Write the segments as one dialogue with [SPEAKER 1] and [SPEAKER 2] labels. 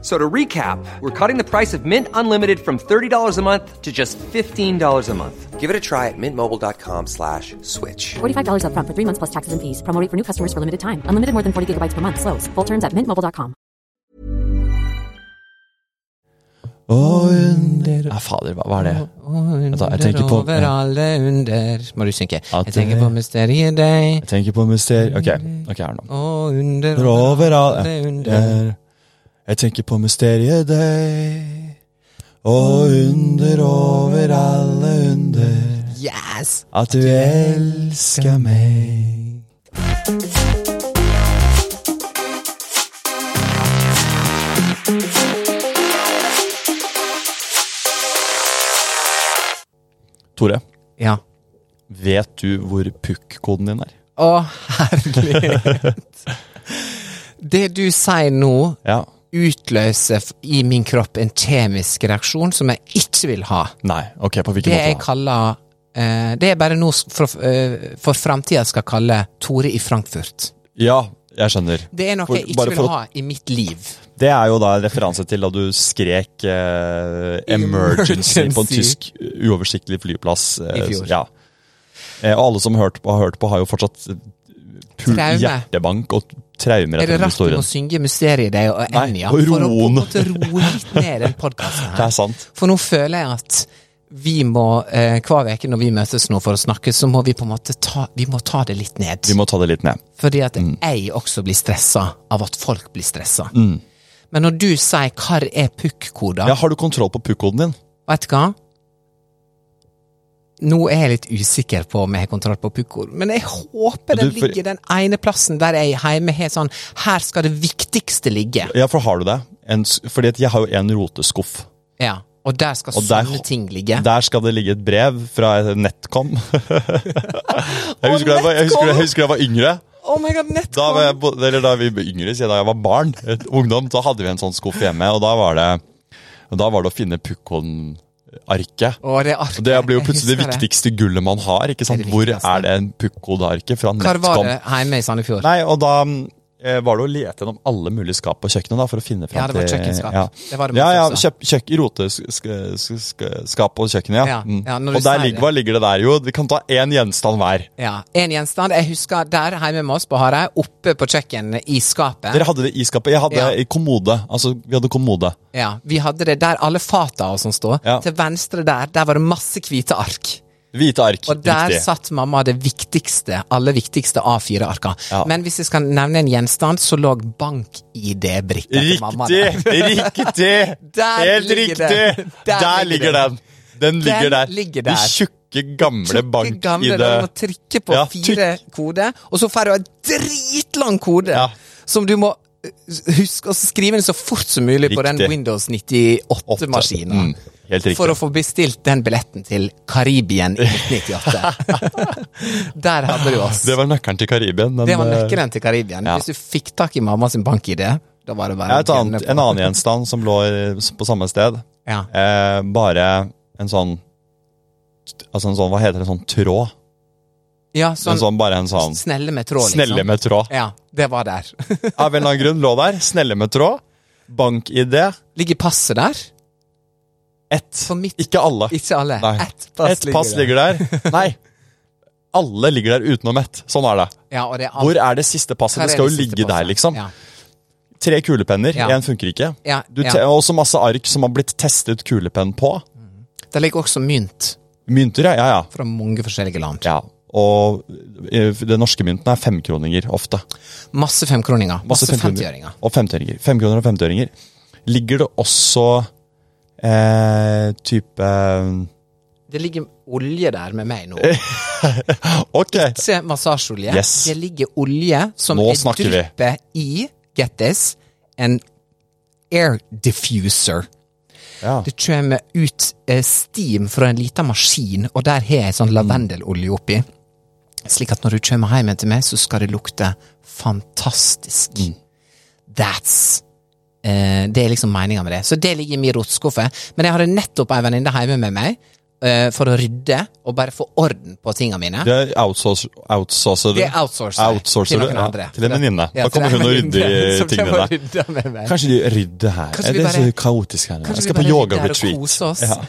[SPEAKER 1] So to recap, we're cutting the price of Mint Unlimited from $30 a month to just $15 a month. Give it a try at mintmobile.com slash switch.
[SPEAKER 2] $45 upfront for three months plus taxes and fees. Promo rate for new customers for limited time. Unlimited more than 40 gigabytes per month. Slows. Full terms at mintmobile.com.
[SPEAKER 3] Og under
[SPEAKER 4] Ja, fader, hva, hva er det?
[SPEAKER 3] under
[SPEAKER 4] Jeg tenker på-
[SPEAKER 3] over alle under Må du synke.
[SPEAKER 4] At
[SPEAKER 3] Jeg tenker
[SPEAKER 4] det-
[SPEAKER 3] på mysteriet deg.
[SPEAKER 4] Jeg tenker på mysterier Ok, ok, her nå.
[SPEAKER 3] Og under
[SPEAKER 4] Overalt
[SPEAKER 3] alle under
[SPEAKER 4] under. Jeg tenker på mysteriet deg. Og under, over alle under,
[SPEAKER 3] Yes!
[SPEAKER 4] at du elsker meg. Tore,
[SPEAKER 3] Ja.
[SPEAKER 4] vet du hvor pukk-koden din er?
[SPEAKER 3] Å, herlighet. Det du sier nå,
[SPEAKER 4] Ja.
[SPEAKER 3] utløser f- i min kropp en kjemisk reaksjon som jeg ikke vil ha.
[SPEAKER 4] Nei, ok, på hvilken
[SPEAKER 3] Det
[SPEAKER 4] måte?
[SPEAKER 3] jeg kaller eh, Det jeg bare nå s- for, eh, for framtida skal kalle Tore i Frankfurt.
[SPEAKER 4] Ja, jeg skjønner.
[SPEAKER 3] Det er noe
[SPEAKER 4] For-
[SPEAKER 3] jeg
[SPEAKER 4] bare
[SPEAKER 3] ikke
[SPEAKER 4] for
[SPEAKER 3] vil
[SPEAKER 4] å-
[SPEAKER 3] ha i mitt liv.
[SPEAKER 4] Det er jo da en referanse til da du skrek eh, 'emergency' på en
[SPEAKER 3] Emergency.
[SPEAKER 4] tysk uoversiktlig flyplass. eh,
[SPEAKER 3] I fjor.
[SPEAKER 4] Ja. Eh, og alle som hørte på, har hørt på, har jo fortsatt eh, pul-
[SPEAKER 3] Traume.
[SPEAKER 4] hjertebank og traumer
[SPEAKER 3] Er
[SPEAKER 4] etter
[SPEAKER 3] det
[SPEAKER 4] den
[SPEAKER 3] rart du
[SPEAKER 4] historien.
[SPEAKER 3] må synge 'Mysteriet deg' og
[SPEAKER 4] Nei,
[SPEAKER 3] Enja
[SPEAKER 4] og
[SPEAKER 3] for å på en
[SPEAKER 4] roen.
[SPEAKER 3] måte roe litt ned den podkasten
[SPEAKER 4] Det er
[SPEAKER 3] her?
[SPEAKER 4] sant.
[SPEAKER 3] For nå føler jeg at vi må, eh, hver uke når vi møtes nå for å snakke, så må vi på en måte ta, vi må ta det litt ned.
[SPEAKER 4] Vi må Mm. ta det litt ned.
[SPEAKER 3] Fordi at jeg også blir stressa av at folk blir stressa. Men når du sier 'hva er pukk-koder',
[SPEAKER 4] Mm. Ja, har du kontroll på pukkoden din?
[SPEAKER 3] vet du hva? Nå er jeg litt usikker på om jeg har kontroll på pukk-koden, men jeg håper
[SPEAKER 4] Du,
[SPEAKER 3] den
[SPEAKER 4] for-
[SPEAKER 3] ligger den ene plassen der jeg hjemme har sånn 'her skal det viktigste ligge'.
[SPEAKER 4] Ja, for har du det? En, s- fordi at jeg har jo en roteskuff.
[SPEAKER 3] Ja, og der skal
[SPEAKER 4] Og der-
[SPEAKER 3] sånne ting ligge.
[SPEAKER 4] Der skal det ligge et brev fra Netcom. jeg, husker da jeg, var- jeg, husker, jeg husker da jeg var yngre.
[SPEAKER 3] Oh my god,
[SPEAKER 4] Da, var jeg, bo- eller da vi var yngre, siden da jeg var barn, et ungdom, så hadde vi en sånn skuff hjemme, og da var det, og da var det å finne pukkon-arket.
[SPEAKER 3] Og det, arket,
[SPEAKER 4] Og det blir jo
[SPEAKER 3] jeg
[SPEAKER 4] plutselig det
[SPEAKER 3] husker
[SPEAKER 4] viktigste gullet man har. ikke sant?
[SPEAKER 3] Det er det
[SPEAKER 4] Hvor
[SPEAKER 3] viktigste.
[SPEAKER 4] er det en pukkon-arket fra
[SPEAKER 3] Hva var
[SPEAKER 4] Netcom?
[SPEAKER 3] det hjemme i Sandefjord?
[SPEAKER 4] Nei, og da mm, eh, var det å lete gjennom alle mulige skap på kjøkkenet da, for å finne fram
[SPEAKER 3] Ja, det var
[SPEAKER 4] til-
[SPEAKER 3] kjøkkenskap.
[SPEAKER 4] Ja,
[SPEAKER 3] Det var det
[SPEAKER 4] ja, ja
[SPEAKER 3] man fiksa.
[SPEAKER 4] kjøp, kjøk, roteskap på kjøkkenet, ja.
[SPEAKER 3] Ja,
[SPEAKER 4] Mm.
[SPEAKER 3] ja, når du
[SPEAKER 4] og der
[SPEAKER 3] sier
[SPEAKER 4] ligger,
[SPEAKER 3] det.
[SPEAKER 4] hva ligger det der, jo? Vi kan ta én gjenstand hver.
[SPEAKER 3] Ja, En gjenstand. Jeg husker der hjemme med oss på Hareid, oppe på kjøkkenet i skapet.
[SPEAKER 4] Dere hadde det i skapet. Jeg hadde
[SPEAKER 3] Ja.
[SPEAKER 4] i kommode. Altså, vi hadde kommode.
[SPEAKER 3] Ja, Vi hadde det der alle fata og sånn står.
[SPEAKER 4] Ja.
[SPEAKER 3] Til venstre der, der var det masse hvite ark.
[SPEAKER 4] Hvite ark.
[SPEAKER 3] Og der
[SPEAKER 4] riktig.
[SPEAKER 3] satt mamma det viktigste, aller viktigste A4-arka.
[SPEAKER 4] Ja.
[SPEAKER 3] Men hvis jeg skal nevne en gjenstand, så lå bank-ID-brikka til mamma der.
[SPEAKER 4] Riktig! Riktig!
[SPEAKER 3] Der
[SPEAKER 4] Helt
[SPEAKER 3] ligger
[SPEAKER 4] riktig!
[SPEAKER 3] den.
[SPEAKER 4] Der,
[SPEAKER 3] Der
[SPEAKER 4] ligger
[SPEAKER 3] ligger
[SPEAKER 4] den. Den ligger der.
[SPEAKER 3] ligger
[SPEAKER 4] De
[SPEAKER 3] der.
[SPEAKER 4] tjukke, gamle bank
[SPEAKER 3] gamle,
[SPEAKER 4] i
[SPEAKER 3] der Du må
[SPEAKER 4] det
[SPEAKER 3] trykke på
[SPEAKER 4] Ja,
[SPEAKER 3] fire koder, og så får du en dritlang kode
[SPEAKER 4] Ja.
[SPEAKER 3] som du må eh, huske å skrive inn så fort som mulig på den
[SPEAKER 4] Riktig.
[SPEAKER 3] Windows
[SPEAKER 4] Åtte.
[SPEAKER 3] 98-maskina.
[SPEAKER 4] Mm, helt riktig.
[SPEAKER 3] For å få bestilt den billetten til Karibien i 1998. Der hadde du oss.
[SPEAKER 4] Det var nøkkelen til Karibien. men,
[SPEAKER 3] Det var
[SPEAKER 4] eh,
[SPEAKER 3] nøkkelen til Karibien.
[SPEAKER 4] ja.
[SPEAKER 3] Hvis du fikk tak i mamma sin bank-ID, da var det
[SPEAKER 4] jeg
[SPEAKER 3] bare
[SPEAKER 4] har et
[SPEAKER 3] å
[SPEAKER 4] annet,
[SPEAKER 3] gønne på.
[SPEAKER 4] en annen gjenstand som lå eh, på samme sted.
[SPEAKER 3] Ja.
[SPEAKER 4] Eh, bare en sånn Altså en sånn, hva heter det, en sånn tråd?
[SPEAKER 3] ja,
[SPEAKER 4] en
[SPEAKER 3] sånn
[SPEAKER 4] sånn, bare en sånn
[SPEAKER 3] snelle med tråd, liksom.
[SPEAKER 4] snelle med tråd.
[SPEAKER 3] Ja, det var der.
[SPEAKER 4] Av en eller annen grunn lå der. Snelle med tråd. Bank-ID.
[SPEAKER 3] Ligger passet der?
[SPEAKER 4] Ett.
[SPEAKER 3] For mitt-
[SPEAKER 4] Ikke alle.
[SPEAKER 3] Ikke alle.
[SPEAKER 4] Nei.
[SPEAKER 3] Ett pass,
[SPEAKER 4] Ett pass
[SPEAKER 3] der.
[SPEAKER 4] ligger der. Nei. Alle ligger der utenom ett. Sånn er det.
[SPEAKER 3] Ja, og det er alt-
[SPEAKER 4] Hvor er det siste passet?
[SPEAKER 3] Her
[SPEAKER 4] Det
[SPEAKER 3] er
[SPEAKER 4] skal jo
[SPEAKER 3] det siste
[SPEAKER 4] ligge der,
[SPEAKER 3] passet.
[SPEAKER 4] liksom.
[SPEAKER 3] Ja.
[SPEAKER 4] Tre kulepenner,
[SPEAKER 3] Ja.
[SPEAKER 4] én funker ikke.
[SPEAKER 3] Ja,
[SPEAKER 4] Du
[SPEAKER 3] ja.
[SPEAKER 4] te- Også masse ark som har blitt testet kulepenn på.
[SPEAKER 3] Det ligger også mynt
[SPEAKER 4] Mynter, ja. Ja, ja.
[SPEAKER 3] fra mange forskjellige land.
[SPEAKER 4] ja. Og eh, det norske mynten er femkroninger ofte.
[SPEAKER 3] Masse femkroninger. Masse,
[SPEAKER 4] femkroninger.
[SPEAKER 3] 50-øringer.
[SPEAKER 4] Og femtiøringer. Femkroner og femtiøringer. Ligger det også eh, type eh,
[SPEAKER 3] Det ligger olje der med meg nå.
[SPEAKER 4] Ok!
[SPEAKER 3] Se massasjeolje.
[SPEAKER 4] Yes.
[SPEAKER 3] Det ligger olje som
[SPEAKER 4] Nå
[SPEAKER 3] er
[SPEAKER 4] snakker vi.
[SPEAKER 3] dryppet i Get this en air diffuser.
[SPEAKER 4] Ja.
[SPEAKER 3] Det kommer ut eh, steam fra en liten maskin, og der har jeg sånn lavendelolje oppi. Slik at
[SPEAKER 4] Mm.
[SPEAKER 3] når du kommer hjem til meg, så skal det lukte fantastisk. That's eh, Det er liksom meninga med det. Så det ligger i min rotskuffe. Men jeg hadde nettopp ei venninne hjemme med meg eh, for å rydde og bare få orden på tinga mine.
[SPEAKER 4] Det outsourcer, outsourcer du.
[SPEAKER 3] Det outsourcer jeg
[SPEAKER 4] Outsourcer
[SPEAKER 3] til
[SPEAKER 4] du,
[SPEAKER 3] noen
[SPEAKER 4] ja,
[SPEAKER 3] andre.
[SPEAKER 4] til en venninne.
[SPEAKER 3] Ja,
[SPEAKER 4] da
[SPEAKER 3] til
[SPEAKER 4] kommer
[SPEAKER 3] en
[SPEAKER 4] hun og rydder
[SPEAKER 3] venninne
[SPEAKER 4] i
[SPEAKER 3] som
[SPEAKER 4] tingene
[SPEAKER 3] kommer og
[SPEAKER 4] der.
[SPEAKER 3] rydder med meg.
[SPEAKER 4] Kanskje de rydder her.
[SPEAKER 3] Kanskje vi
[SPEAKER 4] er det
[SPEAKER 3] bare-
[SPEAKER 4] så kaotisk her? nå?
[SPEAKER 3] Kanskje
[SPEAKER 4] Jeg skal
[SPEAKER 3] vi
[SPEAKER 4] på
[SPEAKER 3] bare ligger der og
[SPEAKER 4] yoga-retreat.
[SPEAKER 3] koser oss.
[SPEAKER 4] Ja.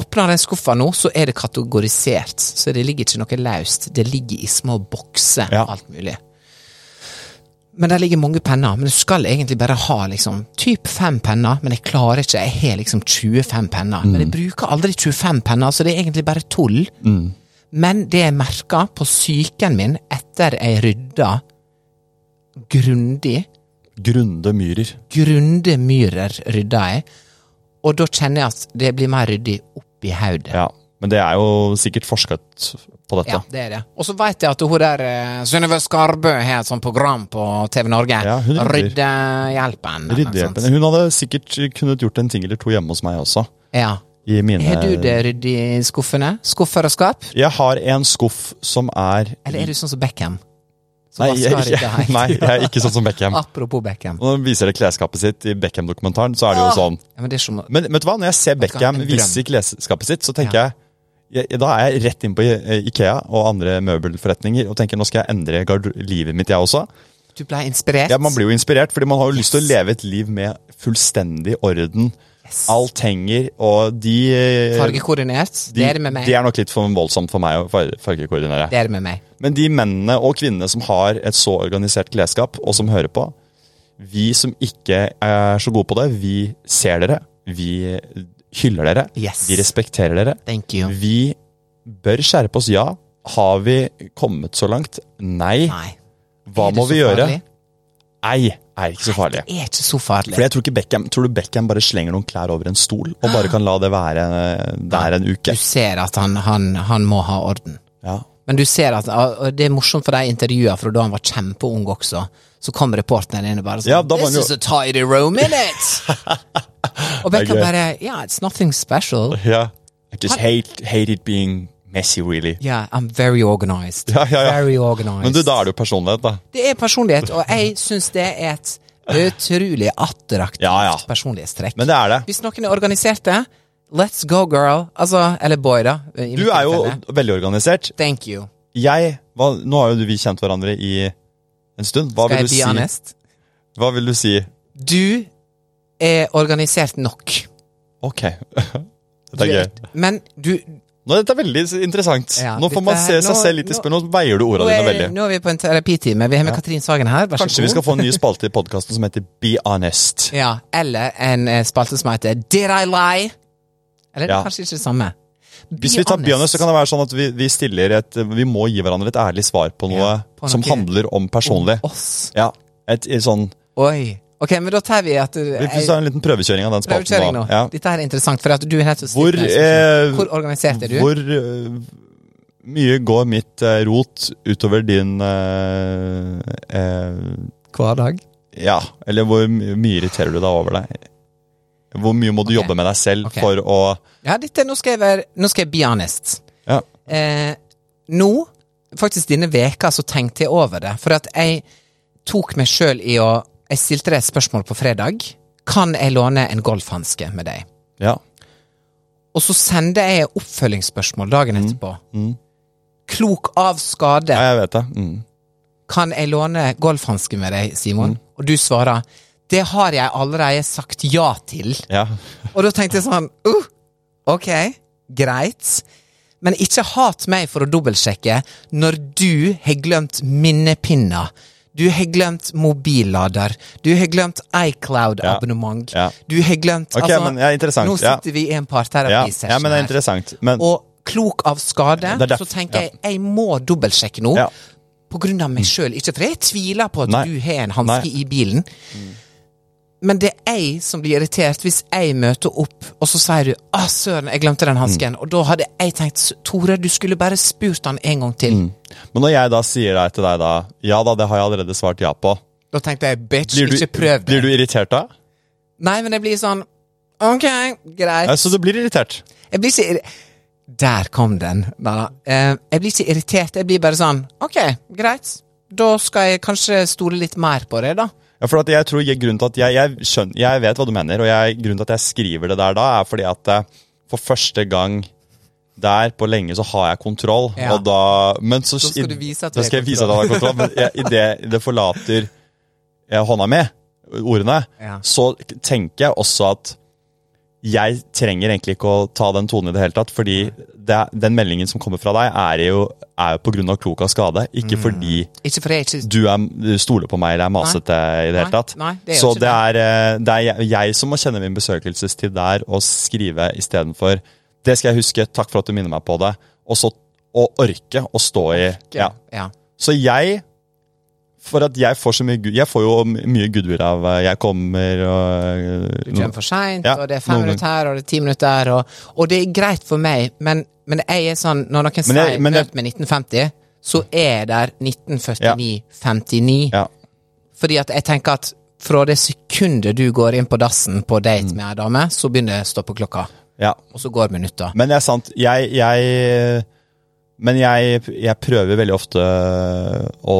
[SPEAKER 3] Åpner den skuffa nå, så er det kategorisert. Så det ligger ikke noe løst. Det ligger i små bokser,
[SPEAKER 4] Ja.
[SPEAKER 3] alt mulig. Men der ligger mange penner. Men du skal egentlig bare ha liksom typ fem penner, men jeg klarer ikke. Jeg har liksom 25 penner. Men jeg
[SPEAKER 4] Mm.
[SPEAKER 3] bruker aldri 25 penner, så det er egentlig bare tull.
[SPEAKER 4] Mm.
[SPEAKER 3] Men det jeg merka på psyken min etter jeg rydda grundig
[SPEAKER 4] Grunde myrer.
[SPEAKER 3] grunde myrer rydda jeg, og da kjenner jeg at det blir mer ryddig oppi hodet.
[SPEAKER 4] Ja. Men det er jo sikkert forsket på dette.
[SPEAKER 3] Ja, det er det. Og så veit jeg at hun der eh, Synnøve Skarbø har et sånt program på TV Norge.
[SPEAKER 4] Ja, hun rydder.
[SPEAKER 3] Ryddehjelpen. eller
[SPEAKER 4] Ryddehjelpen.
[SPEAKER 3] noe sånt.
[SPEAKER 4] Hun hadde sikkert kunnet gjort en ting eller to hjemme hos meg også.
[SPEAKER 3] Ja.
[SPEAKER 4] I mine
[SPEAKER 3] Har du det ryddig i skuffene? Skuffer og skap?
[SPEAKER 4] Jeg har en skuff som er
[SPEAKER 3] Eller er du sånn som Beckham? Som
[SPEAKER 4] Nei, jeg,
[SPEAKER 3] vasker rydda
[SPEAKER 4] jeg,
[SPEAKER 3] helt?
[SPEAKER 4] nei, jeg er ikke sånn som Beckham.
[SPEAKER 3] Apropos Beckham.
[SPEAKER 4] Når han viser det klesskapet sitt i Beckham-dokumentaren, så er det jo sånn
[SPEAKER 3] Ja, men det er som,
[SPEAKER 4] Men vet du hva, når jeg ser
[SPEAKER 3] Ah. du hva,
[SPEAKER 4] Beckham
[SPEAKER 3] en drøm.
[SPEAKER 4] vise klesskapet sitt, så tenker jeg, jeg Da er jeg rett inn på I- Ikea og andre møbelforretninger og tenker nå skal jeg endre garder livet mitt, jeg også.
[SPEAKER 3] du ble inspirert?
[SPEAKER 4] Ja, Man blir jo inspirert, fordi man har jo lyst til å leve et liv med fullstendig orden. Alt henger, og de eh,
[SPEAKER 3] Fargekoordinert?
[SPEAKER 4] de,
[SPEAKER 3] det er det med meg.
[SPEAKER 4] det er nok litt for voldsomt for meg å far- fargekoordinere.
[SPEAKER 3] det er det med meg.
[SPEAKER 4] Men de mennene og kvinnene som har et så organisert klesskap, og som hører på, vi som ikke er så gode på det, vi ser dere. Vi hyller dere.
[SPEAKER 3] Yes.
[SPEAKER 4] Vi respekterer dere.
[SPEAKER 3] Thank you.
[SPEAKER 4] Vi bør skjerpe oss, ja. Har vi kommet så langt? Nei.
[SPEAKER 3] Nei.
[SPEAKER 4] Hva
[SPEAKER 3] Er det
[SPEAKER 4] må
[SPEAKER 3] så
[SPEAKER 4] vi gjøre?
[SPEAKER 3] farlig?
[SPEAKER 4] Nei, er ikke så farlig.
[SPEAKER 3] Det er ikke så farlig.
[SPEAKER 4] For jeg tror ikke Beckham Tror du Beckham bare slenger noen klær over en stol og bare
[SPEAKER 3] Ah.
[SPEAKER 4] kan la det være eh, der en uke?
[SPEAKER 3] Du ser at han, han, han må ha orden.
[SPEAKER 4] Ja.
[SPEAKER 3] Men du ser at og det er morsomt for de intervjua fra da han var kjempeung også. Så kom reporteren inn og bare sånn
[SPEAKER 4] Ja, da var han
[SPEAKER 3] This
[SPEAKER 4] jo-
[SPEAKER 3] is a tidy room in it! og Beckham
[SPEAKER 4] Det er gøy.
[SPEAKER 3] bare Yeah, it's nothing special.
[SPEAKER 4] ja. I just hate, hate it being messy, really.
[SPEAKER 3] Yeah, I'm very organized.
[SPEAKER 4] Ja, ja, ja.
[SPEAKER 3] Very organized.
[SPEAKER 4] Men du, da er det jo personlighet, da.
[SPEAKER 3] Det er personlighet, og jeg syns det er et utrolig attraktivt
[SPEAKER 4] Ja, ja.
[SPEAKER 3] personlighetstrekk.
[SPEAKER 4] Men det er det.
[SPEAKER 3] Hvis noen er organiserte, let's go, girl. Altså, eller boy, da. i
[SPEAKER 4] Du
[SPEAKER 3] mitt
[SPEAKER 4] er jo
[SPEAKER 3] tilfelle.
[SPEAKER 4] veldig organisert.
[SPEAKER 3] Thank you.
[SPEAKER 4] Jeg, hva, Nå har jo du- vi kjent hverandre i en stund. Hva
[SPEAKER 3] Skal
[SPEAKER 4] vil,
[SPEAKER 3] jeg
[SPEAKER 4] du si,
[SPEAKER 3] be honest?
[SPEAKER 4] hva vil du si?
[SPEAKER 3] Du er organisert nok.
[SPEAKER 4] Ok. Dette er gøy.
[SPEAKER 3] Men du
[SPEAKER 4] Nå, dette er veldig s- interessant.
[SPEAKER 3] Ja,
[SPEAKER 4] nå får
[SPEAKER 3] dette
[SPEAKER 4] man se
[SPEAKER 3] er-
[SPEAKER 4] seg
[SPEAKER 3] nå-
[SPEAKER 4] selv litt i
[SPEAKER 3] nå-
[SPEAKER 4] spill. Nå veier du
[SPEAKER 3] nå
[SPEAKER 4] ordene dine
[SPEAKER 3] er,
[SPEAKER 4] veldig.
[SPEAKER 3] nå er vi på en terapitime. Vi har med Katrin Sagen her. Vær så
[SPEAKER 4] Kanskje vi skal få en ny spalte i podkasten som heter Be honest.
[SPEAKER 3] Ja, Eller en eh, spalte som heter Did I lie? Eller det er
[SPEAKER 4] Ja.
[SPEAKER 3] kanskje ikke det samme. Be
[SPEAKER 4] Hvis vi tar Be honest, så kan det være sånn at vi, vi stiller et Vi må gi hverandre et ærlig svar på noe
[SPEAKER 3] Ja, på
[SPEAKER 4] som
[SPEAKER 3] noe-
[SPEAKER 4] handler om personlig.
[SPEAKER 3] Oss.
[SPEAKER 4] Ja. Et, et sånn
[SPEAKER 3] Oi. Ok, men da tar vi at du
[SPEAKER 4] Vi får ta en liten prøvekjøring av den
[SPEAKER 3] Prøvekjøring
[SPEAKER 4] spalten.
[SPEAKER 3] nå.
[SPEAKER 4] da. Ja.
[SPEAKER 3] Dette her er interessant, for at du er nettopp
[SPEAKER 4] Hvor,
[SPEAKER 3] stilt deg som-
[SPEAKER 4] eh,
[SPEAKER 3] Hvor organisert er du?
[SPEAKER 4] Hvor øh, mye går mitt øh, rot utover din øh, øh,
[SPEAKER 3] Hver dag.
[SPEAKER 4] Ja, eller hvor my- mye irriterer du deg over deg? Hvor mye må du
[SPEAKER 3] Ok.
[SPEAKER 4] jobbe med deg selv
[SPEAKER 3] Ok.
[SPEAKER 4] for å
[SPEAKER 3] Ja, dette, nå skal jeg være Nå skal jeg be honest.
[SPEAKER 4] ja.
[SPEAKER 3] Eh, nå, faktisk denne veka, så tenkte jeg over det. For at jeg tok meg sjøl i å Jeg stilte deg et spørsmål på fredag. Kan jeg låne en golfhanske med deg?
[SPEAKER 4] ja.
[SPEAKER 3] Og så sender jeg oppfølgingsspørsmål dagen etterpå. Klok av skade.
[SPEAKER 4] ja, jeg vet det. Mm.
[SPEAKER 3] Kan jeg låne golfhanske med deg, Simon? Og du svarer. Det har jeg allerede sagt ja til.
[SPEAKER 4] Ja.
[SPEAKER 3] Og da tenkte jeg sånn uh, Ok, greit. Men ikke hat meg for å dobbeltsjekke når du har glemt minnepinner. Du har glemt mobillader. Du har glemt iCloud-abonnement.
[SPEAKER 4] Ja, ja.
[SPEAKER 3] Du har glemt altså,
[SPEAKER 4] Ok, men det er interessant,
[SPEAKER 3] Nå
[SPEAKER 4] ja.
[SPEAKER 3] sitter vi i en
[SPEAKER 4] Ja.
[SPEAKER 3] parterapisesjon
[SPEAKER 4] ja, men det er interessant. Men
[SPEAKER 3] Og klok av skade,
[SPEAKER 4] Det er derfor-
[SPEAKER 3] så tenker jeg jeg må dobbeltsjekke nå.
[SPEAKER 4] Ja.
[SPEAKER 3] På grunn av meg sjøl, ikke for jeg tviler på at
[SPEAKER 4] Mm. Nei.
[SPEAKER 3] du har en
[SPEAKER 4] Nei.
[SPEAKER 3] hanske
[SPEAKER 4] Mm.
[SPEAKER 3] i bilen. Men det er jeg som blir irritert hvis jeg møter opp, og så sier du 'Å, søren, jeg glemte den
[SPEAKER 4] Mm.
[SPEAKER 3] hansken'. Og da hadde jeg tenkt 'Tore, du skulle bare spurt han en gang
[SPEAKER 4] Mm.
[SPEAKER 3] til'.
[SPEAKER 4] Men når jeg da sier deg til deg da Ja da, det har jeg allerede svart ja på.
[SPEAKER 3] Da tenkte jeg 'Bitch,
[SPEAKER 4] Blir du,
[SPEAKER 3] ikke prøv
[SPEAKER 4] blir
[SPEAKER 3] det'.
[SPEAKER 4] du irritert da?
[SPEAKER 3] Nei, men jeg blir sånn Ok, greit.
[SPEAKER 4] Ja, så du blir irritert.
[SPEAKER 3] Jeg blir ikke irri- Der kom den. Nei da. Eh, Jeg blir ikke irritert. Jeg blir bare sånn Ok, greit. Da skal jeg kanskje stole litt mer på det, da.
[SPEAKER 4] Ja, for at jeg tror jeg, grunnen til at jeg, jeg, skjønner, jeg vet hva du mener, og jeg, grunnen til at jeg skriver det der da, er fordi at eh, for første gang der på lenge så har jeg kontroll.
[SPEAKER 3] Ja.
[SPEAKER 4] Og da, men så,
[SPEAKER 3] Da skal
[SPEAKER 4] i-
[SPEAKER 3] du vise at du
[SPEAKER 4] da
[SPEAKER 3] har
[SPEAKER 4] skal jeg vise at jeg har kontroll. Men jeg- i det, det forlater eh, hånda mi, ordene,
[SPEAKER 3] Ja.
[SPEAKER 4] så tenker jeg også at jeg trenger egentlig ikke å ta den tonen i det hele tatt, fordi det, den meldingen som kommer fra deg, er jo, er jo på grunn av klok av skade, ikke
[SPEAKER 3] Mm.
[SPEAKER 4] fordi
[SPEAKER 3] Ikke fordi jeg ikke
[SPEAKER 4] du, er, du stoler på meg eller er masete i det
[SPEAKER 3] Nei,
[SPEAKER 4] hele tatt.
[SPEAKER 3] nei, det er jo
[SPEAKER 4] så
[SPEAKER 3] ikke
[SPEAKER 4] det er, eh, det er jeg, jeg som må kjenne min besøkelsestid der og skrive istedenfor Det skal jeg huske, takk for at du minner meg på det. Og så å orke å stå i ja.
[SPEAKER 3] Ja.
[SPEAKER 4] Så jeg For at jeg får så mye gu- Jeg får jo m- mye goodwill av eh, Jeg kommer og
[SPEAKER 3] Du
[SPEAKER 4] eh,
[SPEAKER 3] kommer for seint,
[SPEAKER 4] Ja,
[SPEAKER 3] og det er fem
[SPEAKER 4] noen
[SPEAKER 3] minutter her, og det er ti minutter der, og, og det er greit for meg, men, men jeg er sånn Når noen
[SPEAKER 4] Men jeg-
[SPEAKER 3] sier
[SPEAKER 4] men jeg-
[SPEAKER 3] født med 1950, så er der 1949-59.
[SPEAKER 4] Ja.
[SPEAKER 3] Fordi at jeg tenker at fra det sekundet du går inn på dassen på date med ei dame, så begynner stoppeklokka,
[SPEAKER 4] ja.
[SPEAKER 3] og så går minutter.
[SPEAKER 4] Men det er sant. Jeg, jeg Men jeg, jeg prøver veldig ofte å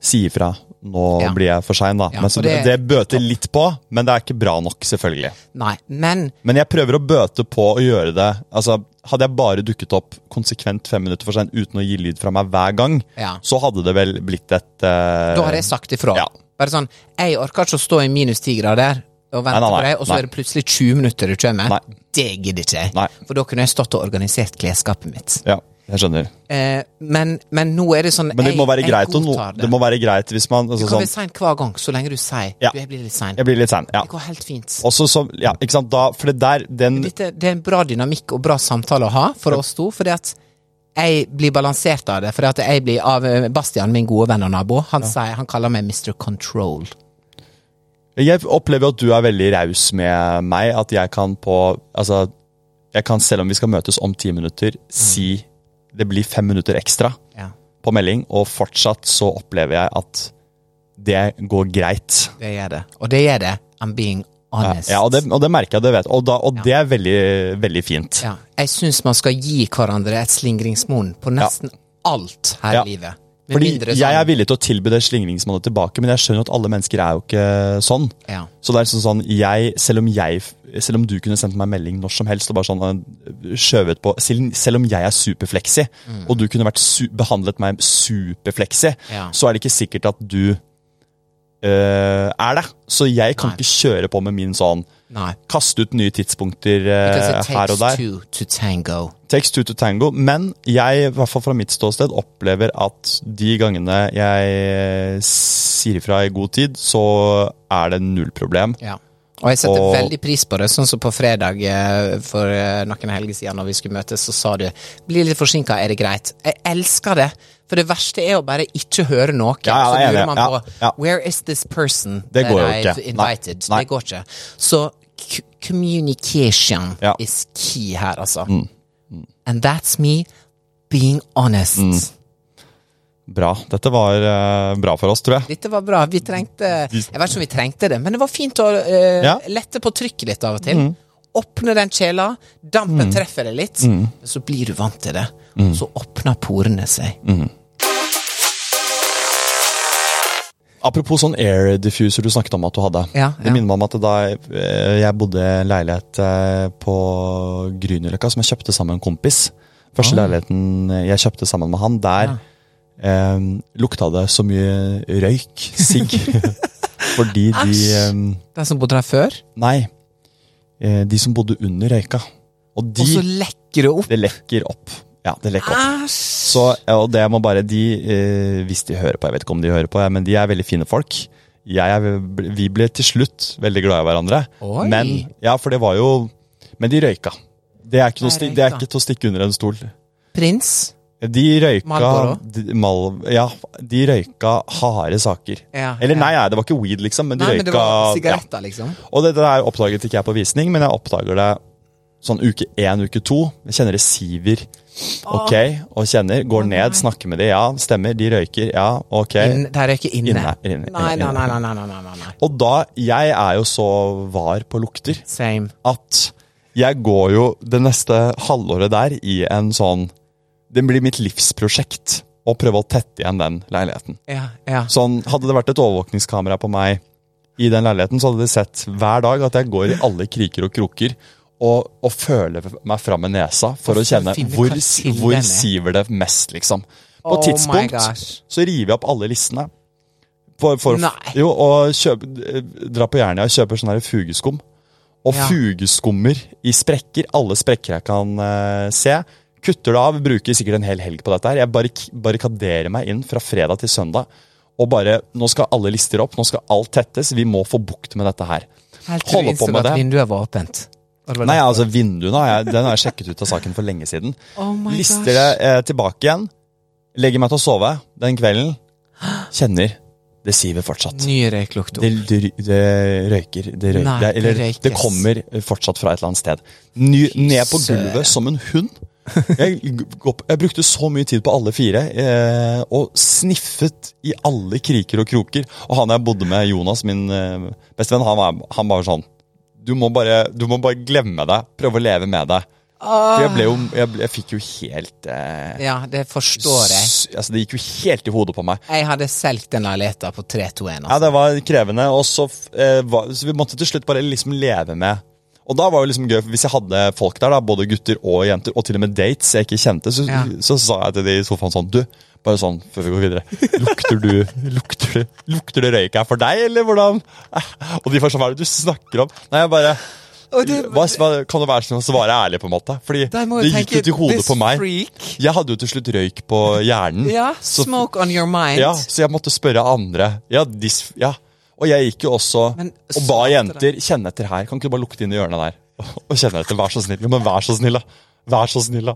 [SPEAKER 4] si ifra. Nå
[SPEAKER 3] Ja.
[SPEAKER 4] blir jeg for sein, da.
[SPEAKER 3] Ja,
[SPEAKER 4] men så
[SPEAKER 3] og
[SPEAKER 4] det,
[SPEAKER 3] det-
[SPEAKER 4] det bøter litt på, men det er ikke bra nok, selvfølgelig.
[SPEAKER 3] Nei, men
[SPEAKER 4] Men jeg prøver å bøte på å gjøre det. Altså, Hadde jeg bare dukket opp konsekvent fem minutter for sent uten å gi lyd fra meg hver gang,
[SPEAKER 3] Ja.
[SPEAKER 4] så hadde det vel blitt et eh,
[SPEAKER 3] da har jeg sagt ifra.
[SPEAKER 4] Ja.
[SPEAKER 3] Bare sånn Jeg orker ikke å stå i minus ti grader og vente
[SPEAKER 4] Nei, nei, nei,
[SPEAKER 3] på deg, og så
[SPEAKER 4] nei.
[SPEAKER 3] er det plutselig 20 minutter du kommer.
[SPEAKER 4] Nei.
[SPEAKER 3] Det gidder ikke jeg.
[SPEAKER 4] Nei.
[SPEAKER 3] For da kunne jeg stått og organisert klesskapet mitt.
[SPEAKER 4] Ja, jeg skjønner.
[SPEAKER 3] Eh, men, men nå er det sånn
[SPEAKER 4] Men det
[SPEAKER 3] jeg-
[SPEAKER 4] må være
[SPEAKER 3] jeg
[SPEAKER 4] greit, å no,
[SPEAKER 3] godtar
[SPEAKER 4] det må være greit hvis man altså,
[SPEAKER 3] Du kan
[SPEAKER 4] sånn,
[SPEAKER 3] bli sein hver gang, så lenge du sier
[SPEAKER 4] Ja.
[SPEAKER 3] du, jeg blir litt sein.
[SPEAKER 4] Jeg blir litt sein. Ja.
[SPEAKER 3] Det går helt fint.
[SPEAKER 4] Også som, ja, ikke sant, da, for det der, den
[SPEAKER 3] Dette, det er en bra dynamikk og bra samtale å ha for oss to, fordi at jeg blir balansert av det. Fordi at jeg blir av eh, Bastian, min gode venn og nabo, han, sier, han kaller meg Mr. Control.
[SPEAKER 4] Jeg opplever jo at du er veldig raus med meg. At jeg kan på Altså, jeg kan, selv om vi skal møtes om ti minutter,
[SPEAKER 3] Mm.
[SPEAKER 4] si det blir fem minutter ekstra
[SPEAKER 3] Ja,
[SPEAKER 4] på melding, og fortsatt så opplever jeg at det går greit.
[SPEAKER 3] det gjør det. Og det gjør det. I'm being honest.
[SPEAKER 4] Ja, og, det, og det merker jeg, det vet Og, da, og det er veldig, veldig fint.
[SPEAKER 3] Ja, jeg syns man skal gi hverandre et slingringsmonn på nesten alt her
[SPEAKER 4] Ja.
[SPEAKER 3] i livet. Med
[SPEAKER 4] Fordi
[SPEAKER 3] mindre
[SPEAKER 4] jeg
[SPEAKER 3] sånn-
[SPEAKER 4] er villig til å tilby det slingringsmålet tilbake, men jeg skjønner jo at alle mennesker er jo ikke sånn.
[SPEAKER 3] Ja.
[SPEAKER 4] Så det er liksom sånn, jeg, selv om jeg, selv om du kunne sendt meg en melding når som helst og bare sånn øh, skjøvet på, selv, selv om jeg er superfleksi,
[SPEAKER 3] Mm.
[SPEAKER 4] og du kunne vært su behandlet meg superfleksi,
[SPEAKER 3] Ja.
[SPEAKER 4] så er det ikke sikkert at du øh, er det. Så jeg kan
[SPEAKER 3] Nei.
[SPEAKER 4] ikke kjøre på med min sånn,
[SPEAKER 3] Nei.
[SPEAKER 4] kaste ut nye tidspunkter øh,
[SPEAKER 3] Because it
[SPEAKER 4] her og
[SPEAKER 3] takes
[SPEAKER 4] der.
[SPEAKER 3] two to tango.
[SPEAKER 4] Takes two to tango, men jeg, i hvert fall fra mitt ståsted, opplever at de gangene jeg sier ifra i god tid, så er det null problem.
[SPEAKER 3] Ja. Og jeg setter
[SPEAKER 4] Og-
[SPEAKER 3] veldig pris på det, sånn som på fredag eh, for eh, noen helger siden når vi skulle møtes, så sa du 'bli litt forsinka, er det greit'? Jeg elsker det, for det verste er å bare ikke høre noe.
[SPEAKER 4] Ja, ja,
[SPEAKER 3] så
[SPEAKER 4] jeg er
[SPEAKER 3] lurer
[SPEAKER 4] enig.
[SPEAKER 3] man
[SPEAKER 4] Ja,
[SPEAKER 3] på
[SPEAKER 4] ja.
[SPEAKER 3] 'where is this person
[SPEAKER 4] Det går jo
[SPEAKER 3] that I've
[SPEAKER 4] ikke. Nei,
[SPEAKER 3] invited'?
[SPEAKER 4] nei.
[SPEAKER 3] Det går ikke. Så c- communication
[SPEAKER 4] Ja. Mm.
[SPEAKER 3] is key her, altså. And that's me being honest.
[SPEAKER 4] Mm. Bra. Dette var eh, bra for oss, tror jeg.
[SPEAKER 3] Dette var bra. Vi trengte Jeg vet ikke om vi trengte det, men det var fint å eh,
[SPEAKER 4] Ja. Mm.
[SPEAKER 3] lette på trykket litt av og til. Åpne den kjela, dampen treffer deg litt,
[SPEAKER 4] Mm.
[SPEAKER 3] men så blir du vant til det. Og så åpner porene seg.
[SPEAKER 4] Mm. Apropos sånn air diffuser du snakket om at du hadde.
[SPEAKER 3] Ja,
[SPEAKER 4] Det
[SPEAKER 3] ja.
[SPEAKER 4] minner meg om at da jeg, eh, jeg bodde i en leilighet eh, på Grünerløkka som jeg kjøpte sammen med en kompis. Første
[SPEAKER 3] Ah.
[SPEAKER 4] leiligheten jeg kjøpte sammen med han, der eh, lukta det så mye røyk, sigg. Fordi de eh,
[SPEAKER 3] Den som bodde der før,
[SPEAKER 4] Nei. Eh, de som bodde under røyka. Og de
[SPEAKER 3] og så lekker det opp.
[SPEAKER 4] Det lekker opp. Ja, det lekker opp.
[SPEAKER 3] Æsj!
[SPEAKER 4] Så, og det må bare de, eh, hvis de hører på, jeg vet ikke om de hører på, ja, men de er veldig fine folk. Jeg er, vi ble til slutt veldig glad i hverandre.
[SPEAKER 3] Oi.
[SPEAKER 4] Men, ja, for det var jo, men de røyka. Det er ikke, noe,
[SPEAKER 3] De
[SPEAKER 4] sti- det er
[SPEAKER 3] røyka.
[SPEAKER 4] ikke til å stikke under en stol.
[SPEAKER 3] Prins.
[SPEAKER 4] De røyka,
[SPEAKER 3] Marlboro?
[SPEAKER 4] de, mal, ja, de røyka harde saker.
[SPEAKER 3] Ja,
[SPEAKER 4] Eller
[SPEAKER 3] ja.
[SPEAKER 4] nei, nei, det var ikke weed liksom, men de
[SPEAKER 3] Nei,
[SPEAKER 4] røyka...
[SPEAKER 3] men det var
[SPEAKER 4] ja.
[SPEAKER 3] sigaretter, liksom.
[SPEAKER 4] Og dette her oppdaget ikke jeg på visning, men jeg oppdager det sånn uke én, uke to. Jeg kjenner det siver. Ok, og kjenner. Går ned, snakker med de, ja, stemmer. De røyker, ja, ok.
[SPEAKER 3] Inn, de røyker inne.
[SPEAKER 4] Inne, inne, inne,
[SPEAKER 3] nei, nei,
[SPEAKER 4] inne.
[SPEAKER 3] nei, nei, nei, nei, nei, nei.
[SPEAKER 4] Og da Jeg er jo så var på lukter
[SPEAKER 3] Same.
[SPEAKER 4] at jeg går jo det neste halvåret der i en sånn Det blir mitt livsprosjekt og prøve å tette igjen den leiligheten.
[SPEAKER 3] Ja, ja.
[SPEAKER 4] Sånn, Hadde det vært et overvåkningskamera på meg i den leiligheten, så hadde de sett hver dag at jeg går i alle kriker og kroker og, og føler meg fram med nesa for
[SPEAKER 3] Og
[SPEAKER 4] å kjenne
[SPEAKER 3] finne
[SPEAKER 4] hvor,
[SPEAKER 3] hva
[SPEAKER 4] hvor
[SPEAKER 3] kilden er.
[SPEAKER 4] siver det mest, liksom. På
[SPEAKER 3] Oh
[SPEAKER 4] et
[SPEAKER 3] my
[SPEAKER 4] tidspunkt
[SPEAKER 3] gosh.
[SPEAKER 4] så river jeg opp alle listene. For, for,
[SPEAKER 3] Nei.
[SPEAKER 4] Jo, og kjøp, eh, dra på Jernia og kjøper sånn her fugeskum. Og
[SPEAKER 3] Ja.
[SPEAKER 4] fugeskummer i sprekker. Alle sprekker jeg kan eh, se. Kutter det av. Bruker sikkert en hel helg på dette. her. Jeg barrik barrikaderer meg inn fra fredag til søndag. Og bare Nå skal alle lister opp. Nå skal alt tettes. Vi må få bukt med dette her.
[SPEAKER 3] Helt til du
[SPEAKER 4] Holder på
[SPEAKER 3] innså
[SPEAKER 4] med
[SPEAKER 3] at
[SPEAKER 4] det.
[SPEAKER 3] vinduet var åpent. Og det var
[SPEAKER 4] Nei,
[SPEAKER 3] derfor.
[SPEAKER 4] altså vinduene har jeg, den har jeg sjekket ut av saken for lenge siden.
[SPEAKER 3] Oh my
[SPEAKER 4] Lister
[SPEAKER 3] gosh.
[SPEAKER 4] det eh, tilbake igjen. Legger meg til å sove den kvelden. Kjenner. Det siver fortsatt.
[SPEAKER 3] Ny røyklukt opp.
[SPEAKER 4] Det, det, det røyker. Det røyker.
[SPEAKER 3] Nei,
[SPEAKER 4] det, eller
[SPEAKER 3] det
[SPEAKER 4] det,
[SPEAKER 3] røykes.
[SPEAKER 4] kommer eh, fortsatt fra et eller annet sted. Ny, ned på gulvet som en hund. Jeg, g- går på- jeg brukte så mye tid på alle fire eh, og sniffet i alle kriker og kroker. Og han jeg bodde med, Jonas, min eh, bestevenn, han, var- han var sånn du må, bare, du må bare glemme det. Prøve å leve med det. For jeg, ble jo, jeg, ble, jeg fikk jo helt eh,
[SPEAKER 3] Ja, det forstår jeg.
[SPEAKER 4] s- altså, Det gikk jo helt i hodet på meg.
[SPEAKER 3] Jeg hadde solgt den leiligheten på 321.
[SPEAKER 4] Ja,
[SPEAKER 3] Altså.
[SPEAKER 4] det var krevende, og så, f- eh, var, så vi måtte til slutt bare liksom leve med. Og da var det liksom gøy, for hvis jeg hadde folk der, da, både gutter og jenter, og til og med dates jeg ikke kjente, så,
[SPEAKER 3] Ja.
[SPEAKER 4] så, sa jeg til de i sofaen sånn, du, bare sånn, før vi går videre, lukter du, lukter du, lukter det røyk her for deg, eller hvordan? Og de var sånn, hva er det du snakker om? Nei, jeg bare,
[SPEAKER 3] Og det-
[SPEAKER 4] hva, hva, kan du være sånn å svare ærlig på en måte? Fordi
[SPEAKER 3] Der må
[SPEAKER 4] det
[SPEAKER 3] jeg
[SPEAKER 4] gikk
[SPEAKER 3] tenke,
[SPEAKER 4] jo til hodet
[SPEAKER 3] this
[SPEAKER 4] på meg.
[SPEAKER 3] freak.
[SPEAKER 4] Jeg hadde jo til slutt røyk på hjernen.
[SPEAKER 3] Ja,
[SPEAKER 4] så-
[SPEAKER 3] smoke on your mind.
[SPEAKER 4] ja, så jeg måtte spørre andre. Ja, dis, ja. Og jeg gikk jo også
[SPEAKER 3] Men
[SPEAKER 4] og ba
[SPEAKER 3] satan.
[SPEAKER 4] jenter kjenne etter her. Kan ikke du bare lukte inn i hjørnet der? Og kjenne etter. Vær så snill. Jo, men vær så snill, da. Vær så snill, da.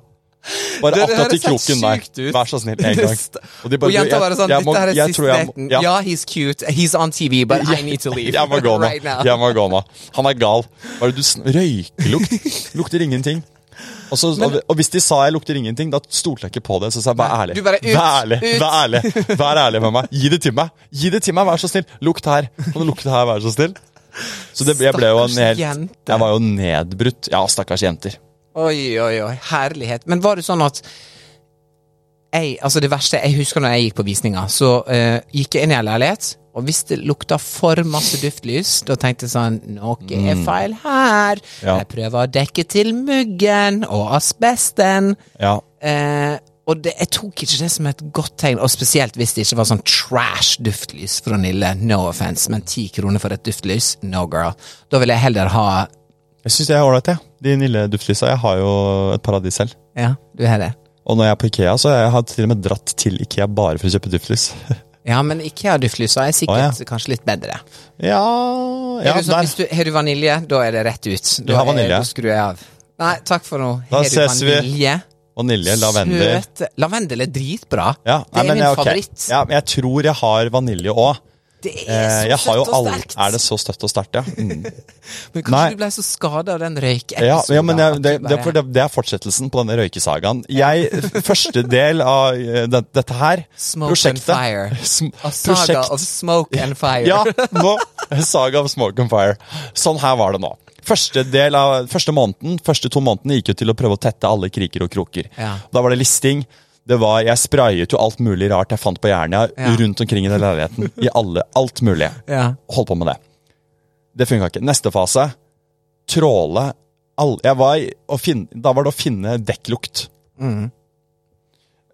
[SPEAKER 4] Bare
[SPEAKER 3] Det- det
[SPEAKER 4] akkurat i
[SPEAKER 3] høres helt
[SPEAKER 4] kroken
[SPEAKER 3] sykt
[SPEAKER 4] der.
[SPEAKER 3] ut.
[SPEAKER 4] Vær så snill, en gang.
[SPEAKER 3] Det st-
[SPEAKER 4] Og de bare,
[SPEAKER 3] Og
[SPEAKER 4] du,
[SPEAKER 3] jenta
[SPEAKER 4] jeg-
[SPEAKER 3] bare sånn
[SPEAKER 4] jeg må-
[SPEAKER 3] Dette her er
[SPEAKER 4] jeg
[SPEAKER 3] siste
[SPEAKER 4] tror jeg må-
[SPEAKER 3] daten.
[SPEAKER 4] ja.
[SPEAKER 3] Ja, he's cute. He's on TV, but I need to leave.
[SPEAKER 4] Jeg må gå nå.
[SPEAKER 3] Right now.
[SPEAKER 4] Jeg må gå nå. Han er gal. Hva er det du sn Røykelukt. Lukter ingenting. Og, så, og, og hvis de sa jeg lukter ingenting, da stolte jeg ikke på det. Så sa jeg vær ærlig.
[SPEAKER 3] Du bare, ut,
[SPEAKER 4] vær ærlig,
[SPEAKER 3] ut.
[SPEAKER 4] vær ærlig Vær ærlig med meg. Gi det til meg, Gi det til meg, vær så snill. Lukt her. Kan du lukte her, vær så snill? Så det, jeg ble jo en helt
[SPEAKER 3] Stakkars jente.
[SPEAKER 4] Jeg var jo nedbrutt. Ja, stakkars jenter.
[SPEAKER 3] Oi, oi, oi. Herlighet. Men var det sånn at jeg, altså Det verste Jeg husker når jeg gikk på visninga, så eh, gikk jeg inn i en leilighet, og hvis det lukta for masse duftlys, da tenkte jeg sånn Noe er feil her.
[SPEAKER 4] Ja.
[SPEAKER 3] Jeg prøver å dekke til muggen og asbesten.
[SPEAKER 4] Ja.
[SPEAKER 3] Eh, og det, jeg tok ikke det som et godt tegn, og spesielt hvis det ikke var sånn trash duftlys fra Nille. No offense, men ti kroner for et duftlys? No, girl. Da vil jeg heller ha
[SPEAKER 4] Jeg syns jeg er ålreit, jeg. De nille duftlysa. Jeg har jo et par av de selv.
[SPEAKER 3] Ja, du har det.
[SPEAKER 4] Og når jeg er på Ikea, så har jeg har til og med dratt til Ikea bare for å kjøpe duftlys.
[SPEAKER 3] Ja, men Ikea-duftlysa er sikkert
[SPEAKER 4] Å,
[SPEAKER 3] kanskje litt bedre.
[SPEAKER 4] Ja, ja
[SPEAKER 3] er du sånn,
[SPEAKER 4] der.
[SPEAKER 3] hvis du, har du vanilje, da er det rett ut. Da,
[SPEAKER 4] har
[SPEAKER 3] er-
[SPEAKER 4] vanilje.
[SPEAKER 3] Da skrur jeg av. Nei, takk for nå.
[SPEAKER 4] Da
[SPEAKER 3] Har du
[SPEAKER 4] ses vi.
[SPEAKER 3] vanilje?
[SPEAKER 4] Vanilje, lavendel.
[SPEAKER 3] Søt Lavendel er dritbra.
[SPEAKER 4] Ja, nei,
[SPEAKER 3] det er
[SPEAKER 4] men
[SPEAKER 3] min
[SPEAKER 4] ja, ok.
[SPEAKER 3] favoritt.
[SPEAKER 4] Ja, men jeg tror jeg har vanilje òg.
[SPEAKER 3] Det er så
[SPEAKER 4] Eh, jeg har jo
[SPEAKER 3] søtt og
[SPEAKER 4] alle-
[SPEAKER 3] sterkt.
[SPEAKER 4] Er det så støtt og sterkt, ja? Mm.
[SPEAKER 3] Men kanskje
[SPEAKER 4] Nei.
[SPEAKER 3] du ble så skada av den røykepisoden.
[SPEAKER 4] ja, ja men jeg,
[SPEAKER 3] at du
[SPEAKER 4] det, det,
[SPEAKER 3] bare-
[SPEAKER 4] for det, det er fortsettelsen på denne røykesagaen. Jeg, Første del av eh, det, dette her
[SPEAKER 3] Smoke
[SPEAKER 4] prosjektet,
[SPEAKER 3] and fire.
[SPEAKER 4] Sm-
[SPEAKER 3] A saga
[SPEAKER 4] prosjekt-
[SPEAKER 3] of smoke and fire.
[SPEAKER 4] Ja, nå. Saga of Smoke and Fire. Sånn her var det nå. Første, del av, første måneden, første to månedene gikk jo til å prøve å tette alle kriker og kroker.
[SPEAKER 3] Ja.
[SPEAKER 4] Da var det listing. Det var, jeg sprayet jo alt mulig rart jeg fant på Jernia
[SPEAKER 3] Ja.
[SPEAKER 4] rundt omkring i den leiligheten. I alle, alt mulig.
[SPEAKER 3] Ja.
[SPEAKER 4] Holdt på med det. Det funka ikke. Neste fase tråle all, jeg var, i- å finne, Da var det å finne dekklukt.
[SPEAKER 3] Mm.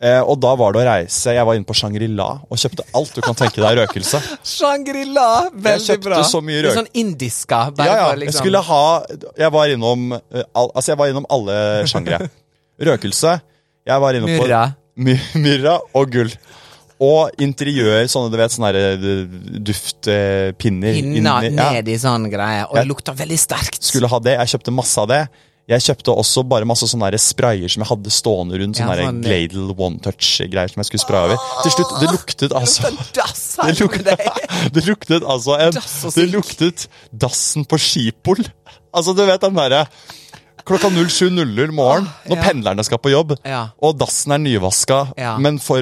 [SPEAKER 4] Eh, og da var det å reise Jeg var inne på Shangri-La og kjøpte alt du kan tenke deg røkelse.
[SPEAKER 3] Shangri-La! Veldig
[SPEAKER 4] kjøpte
[SPEAKER 3] bra.
[SPEAKER 4] så mye
[SPEAKER 3] Det er
[SPEAKER 4] røyk.
[SPEAKER 3] Sånn indiska. Bare
[SPEAKER 4] ja, ja.
[SPEAKER 3] for liksom
[SPEAKER 4] Jeg skulle ha jeg var, innom, eh, all, altså jeg var innom alle sjangre. Røkelse. Jeg var innom
[SPEAKER 3] Myrra.
[SPEAKER 4] My, myrra og gull. Og interiør, sånne du vet, sånne her, eh, duftpinner.
[SPEAKER 3] pinna
[SPEAKER 4] inni-
[SPEAKER 3] ned i sånn greie, og det lukter veldig sterkt.
[SPEAKER 4] skulle ha det. Jeg kjøpte masse av det. Jeg kjøpte også bare masse sånne der sprayer som jeg hadde stående rundt.
[SPEAKER 3] Ja,
[SPEAKER 4] Sånne der
[SPEAKER 3] sånn-
[SPEAKER 4] Gladel One Touch-greier som jeg skulle spraye over. Til slutt, det luktet altså
[SPEAKER 3] lukter dass her
[SPEAKER 4] det luktet,
[SPEAKER 3] med
[SPEAKER 4] det luktet altså en,
[SPEAKER 3] Dass og
[SPEAKER 4] Det
[SPEAKER 3] sink.
[SPEAKER 4] luktet dassen på Skipol. Altså, du vet den derre Klokka 07.00 morgen, når
[SPEAKER 3] Ah, ja.
[SPEAKER 4] pendlerne skal på jobb,
[SPEAKER 3] Ja.
[SPEAKER 4] og dassen er nyvaska,
[SPEAKER 3] Ja.
[SPEAKER 4] men for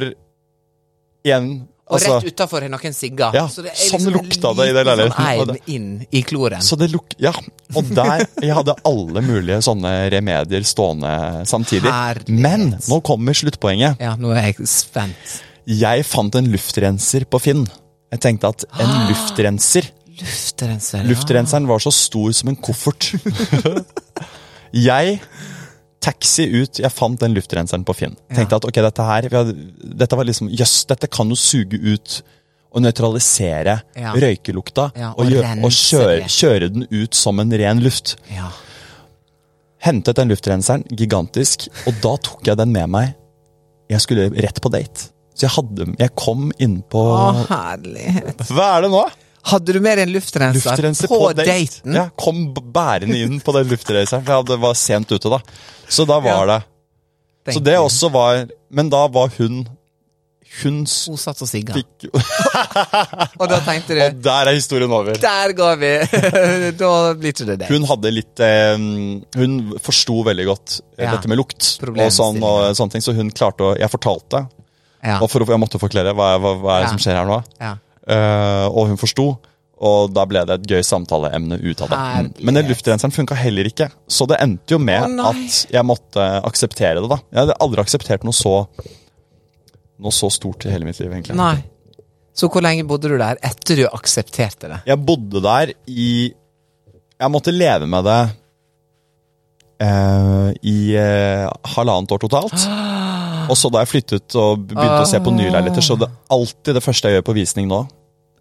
[SPEAKER 4] en
[SPEAKER 3] Og
[SPEAKER 4] Altså-
[SPEAKER 3] rett utafor er noen sigger.
[SPEAKER 4] Ja,
[SPEAKER 3] så
[SPEAKER 4] sånn lukta det i den
[SPEAKER 3] liten
[SPEAKER 4] leiligheten, og
[SPEAKER 3] Sånn
[SPEAKER 4] det-
[SPEAKER 3] eim inn i kloren.
[SPEAKER 4] Så det luk ja, og der Jeg hadde alle mulige sånne remedier stående samtidig.
[SPEAKER 3] Herlighet.
[SPEAKER 4] Men nå kommer sluttpoenget.
[SPEAKER 3] Ja, nå er jeg spent.
[SPEAKER 4] Jeg fant en luftrenser på Finn. Jeg tenkte at en
[SPEAKER 3] Ah.
[SPEAKER 4] luftrenser
[SPEAKER 3] Luftrenser. ja.
[SPEAKER 4] Luftrenseren var så stor som en koffert. jeg taxi ut, jeg fant den luftrenseren på Finn. Tenkte at ok, dette her vi hadde, Dette var liksom, jøss, dette kan jo suge ut og nøytralisere
[SPEAKER 3] Ja.
[SPEAKER 4] røykelukta.
[SPEAKER 3] Ja,
[SPEAKER 4] og
[SPEAKER 3] og
[SPEAKER 4] gjø- og
[SPEAKER 3] rense
[SPEAKER 4] kjøre,
[SPEAKER 3] det.
[SPEAKER 4] kjøre den ut som en ren luft.
[SPEAKER 3] Ja.
[SPEAKER 4] Hentet den luftrenseren, gigantisk, og da tok jeg den med meg. Jeg skulle rett på date. Så jeg, hadde, jeg kom inn på
[SPEAKER 3] Å, herlighet.
[SPEAKER 4] Hva er det nå?
[SPEAKER 3] Hadde du med deg en luftrenser,
[SPEAKER 4] Luftrenser
[SPEAKER 3] på, daten?
[SPEAKER 4] Ja, kom b- bærende inn på den luftrenseren, for jeg hadde- var sent ute da. Så da var det. Så
[SPEAKER 3] tenkte
[SPEAKER 4] det
[SPEAKER 3] jeg.
[SPEAKER 4] også var Men da var hun Hun s-
[SPEAKER 3] Hun satt og sigga.
[SPEAKER 4] fikk
[SPEAKER 3] Og da tenkte du
[SPEAKER 4] Og der er historien over.
[SPEAKER 3] Der går vi! da blir ikke det det.
[SPEAKER 4] Hun hadde litt eh, Hun forsto veldig godt eh,
[SPEAKER 3] Ja.
[SPEAKER 4] dette med lukt og sånn,
[SPEAKER 3] Problemstilling.
[SPEAKER 4] og sånne ting, så hun klarte å Jeg fortalte,
[SPEAKER 3] Ja.
[SPEAKER 4] og for, å- jeg måtte forklare hva, hva, hva er det
[SPEAKER 3] Ja.
[SPEAKER 4] som skjer her nå.
[SPEAKER 3] Ja.
[SPEAKER 4] Eh, og hun forsto. Og da ble det et gøy samtaleemne ut av det.
[SPEAKER 3] Herlighet.
[SPEAKER 4] Men den luftrenseren funka heller ikke, så det endte jo med
[SPEAKER 3] Å, nei.
[SPEAKER 4] at jeg måtte akseptere det. da Jeg hadde aldri akseptert noe så Noe så stort i hele mitt liv, egentlig.
[SPEAKER 3] Nei. Så hvor lenge bodde du der etter du aksepterte det?
[SPEAKER 4] Jeg bodde der i Jeg måtte leve med det eh, i eh, halvannet år totalt. Og så da jeg flyttet og begynte å se på nye leiligheter, så det er alltid det første jeg gjør på visning nå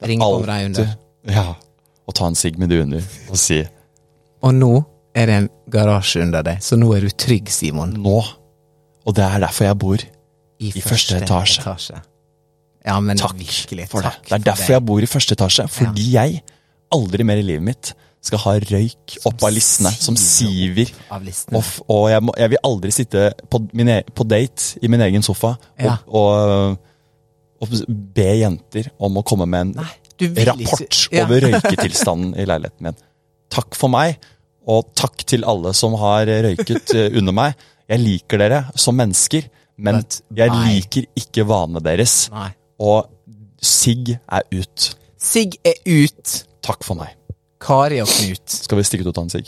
[SPEAKER 3] Ring over deg under.
[SPEAKER 4] Ja. Og ta en sigg med du under og si
[SPEAKER 3] Og nå er det en garasje under deg, så nå er du trygg, Simon.
[SPEAKER 4] nå. Og det er derfor jeg bor. I første etasje.
[SPEAKER 3] Ja, men
[SPEAKER 4] Takk
[SPEAKER 3] virkelig.
[SPEAKER 4] for det.
[SPEAKER 3] takk
[SPEAKER 4] Det er derfor jeg bor i første etasje. Fordi jeg aldri mer i livet mitt skal ha røyk opp av listene som
[SPEAKER 3] siver
[SPEAKER 4] siver.
[SPEAKER 3] av listene.
[SPEAKER 4] Og, f- og jeg, må, jeg vil aldri sitte på, min, e- på date i min egen sofa og,
[SPEAKER 3] Ja.
[SPEAKER 4] og, og be jenter om å komme med en
[SPEAKER 3] Nei, du vil
[SPEAKER 4] rapport
[SPEAKER 3] ikke. Ja.
[SPEAKER 4] over røyketilstanden i leiligheten min. Takk for meg, og takk til alle som har røyket eh, under meg. Jeg liker dere som mennesker, men
[SPEAKER 3] But
[SPEAKER 4] jeg
[SPEAKER 3] my-
[SPEAKER 4] liker ikke vanene deres.
[SPEAKER 3] Nei.
[SPEAKER 4] Og sigg er ut.
[SPEAKER 3] Sigg er ut.
[SPEAKER 4] Takk for meg.
[SPEAKER 3] Kari og Knut.
[SPEAKER 4] Skal vi stikke ut og ta en sigg?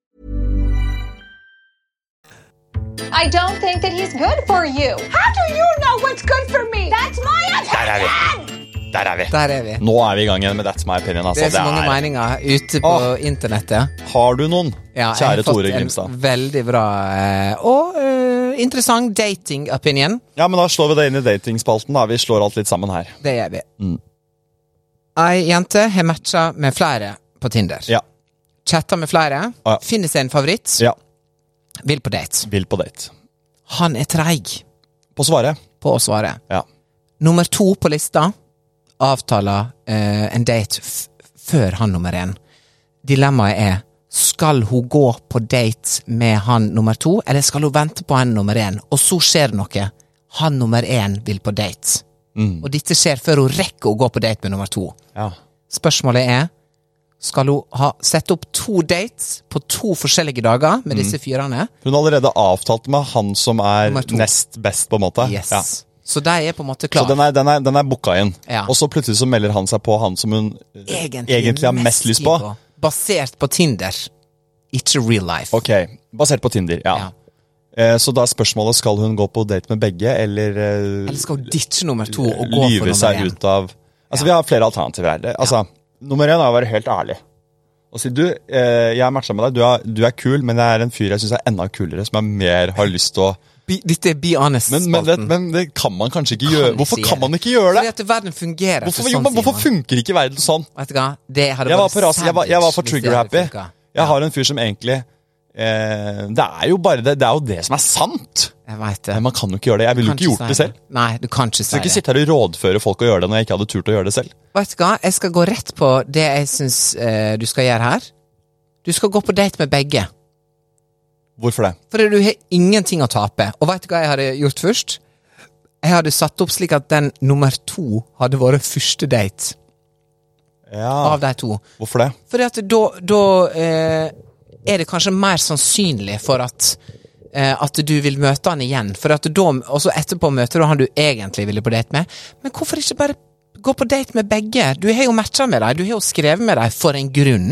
[SPEAKER 5] I don't think that he's good for you. How do you know what's good for me? That's my opinion.
[SPEAKER 4] Der er vi.
[SPEAKER 3] Der er vi.
[SPEAKER 4] Nå er vi i gang igjen med That's my opinion. Altså.
[SPEAKER 3] Det er så mange
[SPEAKER 4] Det er-
[SPEAKER 3] meninger ute på
[SPEAKER 4] Åh.
[SPEAKER 3] internettet.
[SPEAKER 4] Har du noen,
[SPEAKER 3] Ja, jeg har
[SPEAKER 4] kjære
[SPEAKER 3] fått
[SPEAKER 4] Tore
[SPEAKER 3] en
[SPEAKER 4] Grimstad?
[SPEAKER 3] Veldig bra eh, og eh, interessant dating opinion.
[SPEAKER 4] Ja, men Da slår vi det inn i datingspalten. da. Vi slår alt litt sammen her.
[SPEAKER 3] Det gjør vi.
[SPEAKER 4] Mm.
[SPEAKER 3] Ei jente har matcha med flere på Tinder.
[SPEAKER 4] Ja.
[SPEAKER 3] Chatta med flere.
[SPEAKER 4] Ja.
[SPEAKER 3] Finner seg en favoritt.
[SPEAKER 4] ja.
[SPEAKER 3] Vil på date.
[SPEAKER 4] Vil på date.
[SPEAKER 3] Han er treig
[SPEAKER 4] På svaret?
[SPEAKER 3] på å svare.
[SPEAKER 4] Ja.
[SPEAKER 3] Nummer to på lista avtaler eh, en date f før han nummer én. Dilemmaet er skal hun gå på date med han nummer to, eller skal hun vente på han nummer én? Og så skjer det noe. Han nummer én vil på date.
[SPEAKER 4] Mm.
[SPEAKER 3] Og dette skjer før hun rekker å gå på date med nummer to.
[SPEAKER 4] ja.
[SPEAKER 3] Spørsmålet er skal hun ha sette opp to dates på to forskjellige dager
[SPEAKER 4] Mm.
[SPEAKER 3] med disse fyrene.
[SPEAKER 4] Hun har allerede avtalt med han som er
[SPEAKER 3] Nummer to.
[SPEAKER 4] nest best, på en måte.
[SPEAKER 3] Yes.
[SPEAKER 4] Ja.
[SPEAKER 3] Så de er på en måte
[SPEAKER 4] Så
[SPEAKER 3] klar.
[SPEAKER 4] den er, den er, den er booka inn.
[SPEAKER 3] Ja.
[SPEAKER 4] Og så plutselig så melder han seg på han som hun eh, egentlig, har mest lyst på.
[SPEAKER 3] Basert på Tinder, ikke real life.
[SPEAKER 4] Ok, Basert på Tinder, ja.
[SPEAKER 3] Ja.
[SPEAKER 4] Eh, Så da er spørsmålet skal hun gå på date med begge, eller, eh,
[SPEAKER 3] Eller skal hun ditche nummer to og gå for
[SPEAKER 4] lyve
[SPEAKER 3] nummer
[SPEAKER 4] seg
[SPEAKER 3] én?
[SPEAKER 4] ut av Altså, Vi har flere alternativer her. Det- Altså, Nummer én er å være helt ærlig. Og si du, eh, jeg har matcha med deg, du er, du er kul, men det er en fyr jeg syns er enda kulere, som jeg mer har lyst til å
[SPEAKER 3] Be- Dette er Be
[SPEAKER 4] men, men, det,
[SPEAKER 3] Honest-spalten.
[SPEAKER 4] men det kan man kanskje ikke
[SPEAKER 3] Kan
[SPEAKER 4] gjøre.
[SPEAKER 3] ikke
[SPEAKER 4] Hvorfor
[SPEAKER 3] si
[SPEAKER 4] kan
[SPEAKER 3] det.
[SPEAKER 4] man ikke gjøre
[SPEAKER 3] Fordi
[SPEAKER 4] det?
[SPEAKER 3] at verden fungerer
[SPEAKER 4] Hvorfor,
[SPEAKER 3] ikke
[SPEAKER 4] jo,
[SPEAKER 3] sånn,
[SPEAKER 4] men hvorfor
[SPEAKER 3] Simon.
[SPEAKER 4] funker ikke verden sånn?
[SPEAKER 3] Vet du hva? Det hadde
[SPEAKER 4] Jeg var,
[SPEAKER 3] vært
[SPEAKER 4] på ras, jeg var, jeg var for
[SPEAKER 3] savage hvis det hadde
[SPEAKER 4] trigger-happy.
[SPEAKER 3] funket.
[SPEAKER 4] Jeg har en fyr som egentlig eh, Det er jo bare det, det er jo det som er sant!
[SPEAKER 3] Jeg vet det.
[SPEAKER 4] Nei, Man kan jo ikke gjøre det. Jeg ville jo
[SPEAKER 3] Kan
[SPEAKER 4] ikke gjort det
[SPEAKER 3] si
[SPEAKER 4] selv.
[SPEAKER 3] Nei, du kan ikke
[SPEAKER 4] Jeg skal
[SPEAKER 3] si
[SPEAKER 4] ikke
[SPEAKER 3] det.
[SPEAKER 4] sitte her og rådføre folk å gjøre det når jeg ikke hadde turt å gjøre det selv.
[SPEAKER 3] Vet du hva, jeg skal gå rett på det jeg syns eh, du skal gjøre her. Du skal gå på date med begge.
[SPEAKER 4] Hvorfor det?
[SPEAKER 3] For du har ingenting å tape. Og veit du hva jeg hadde gjort først? Jeg hadde satt opp slik at den nummer to hadde vært første date
[SPEAKER 4] Ja,
[SPEAKER 3] av de to.
[SPEAKER 4] Hvorfor det?
[SPEAKER 3] Fordi at da, da eh, er det kanskje mer sannsynlig for at eh, at du vil møte han igjen. For at da, Og så etterpå møter du han du egentlig ville på date med. Men hvorfor ikke bare gå på date med begge? Du har jo matcha med dem, du har jo skrevet med dem for en grunn.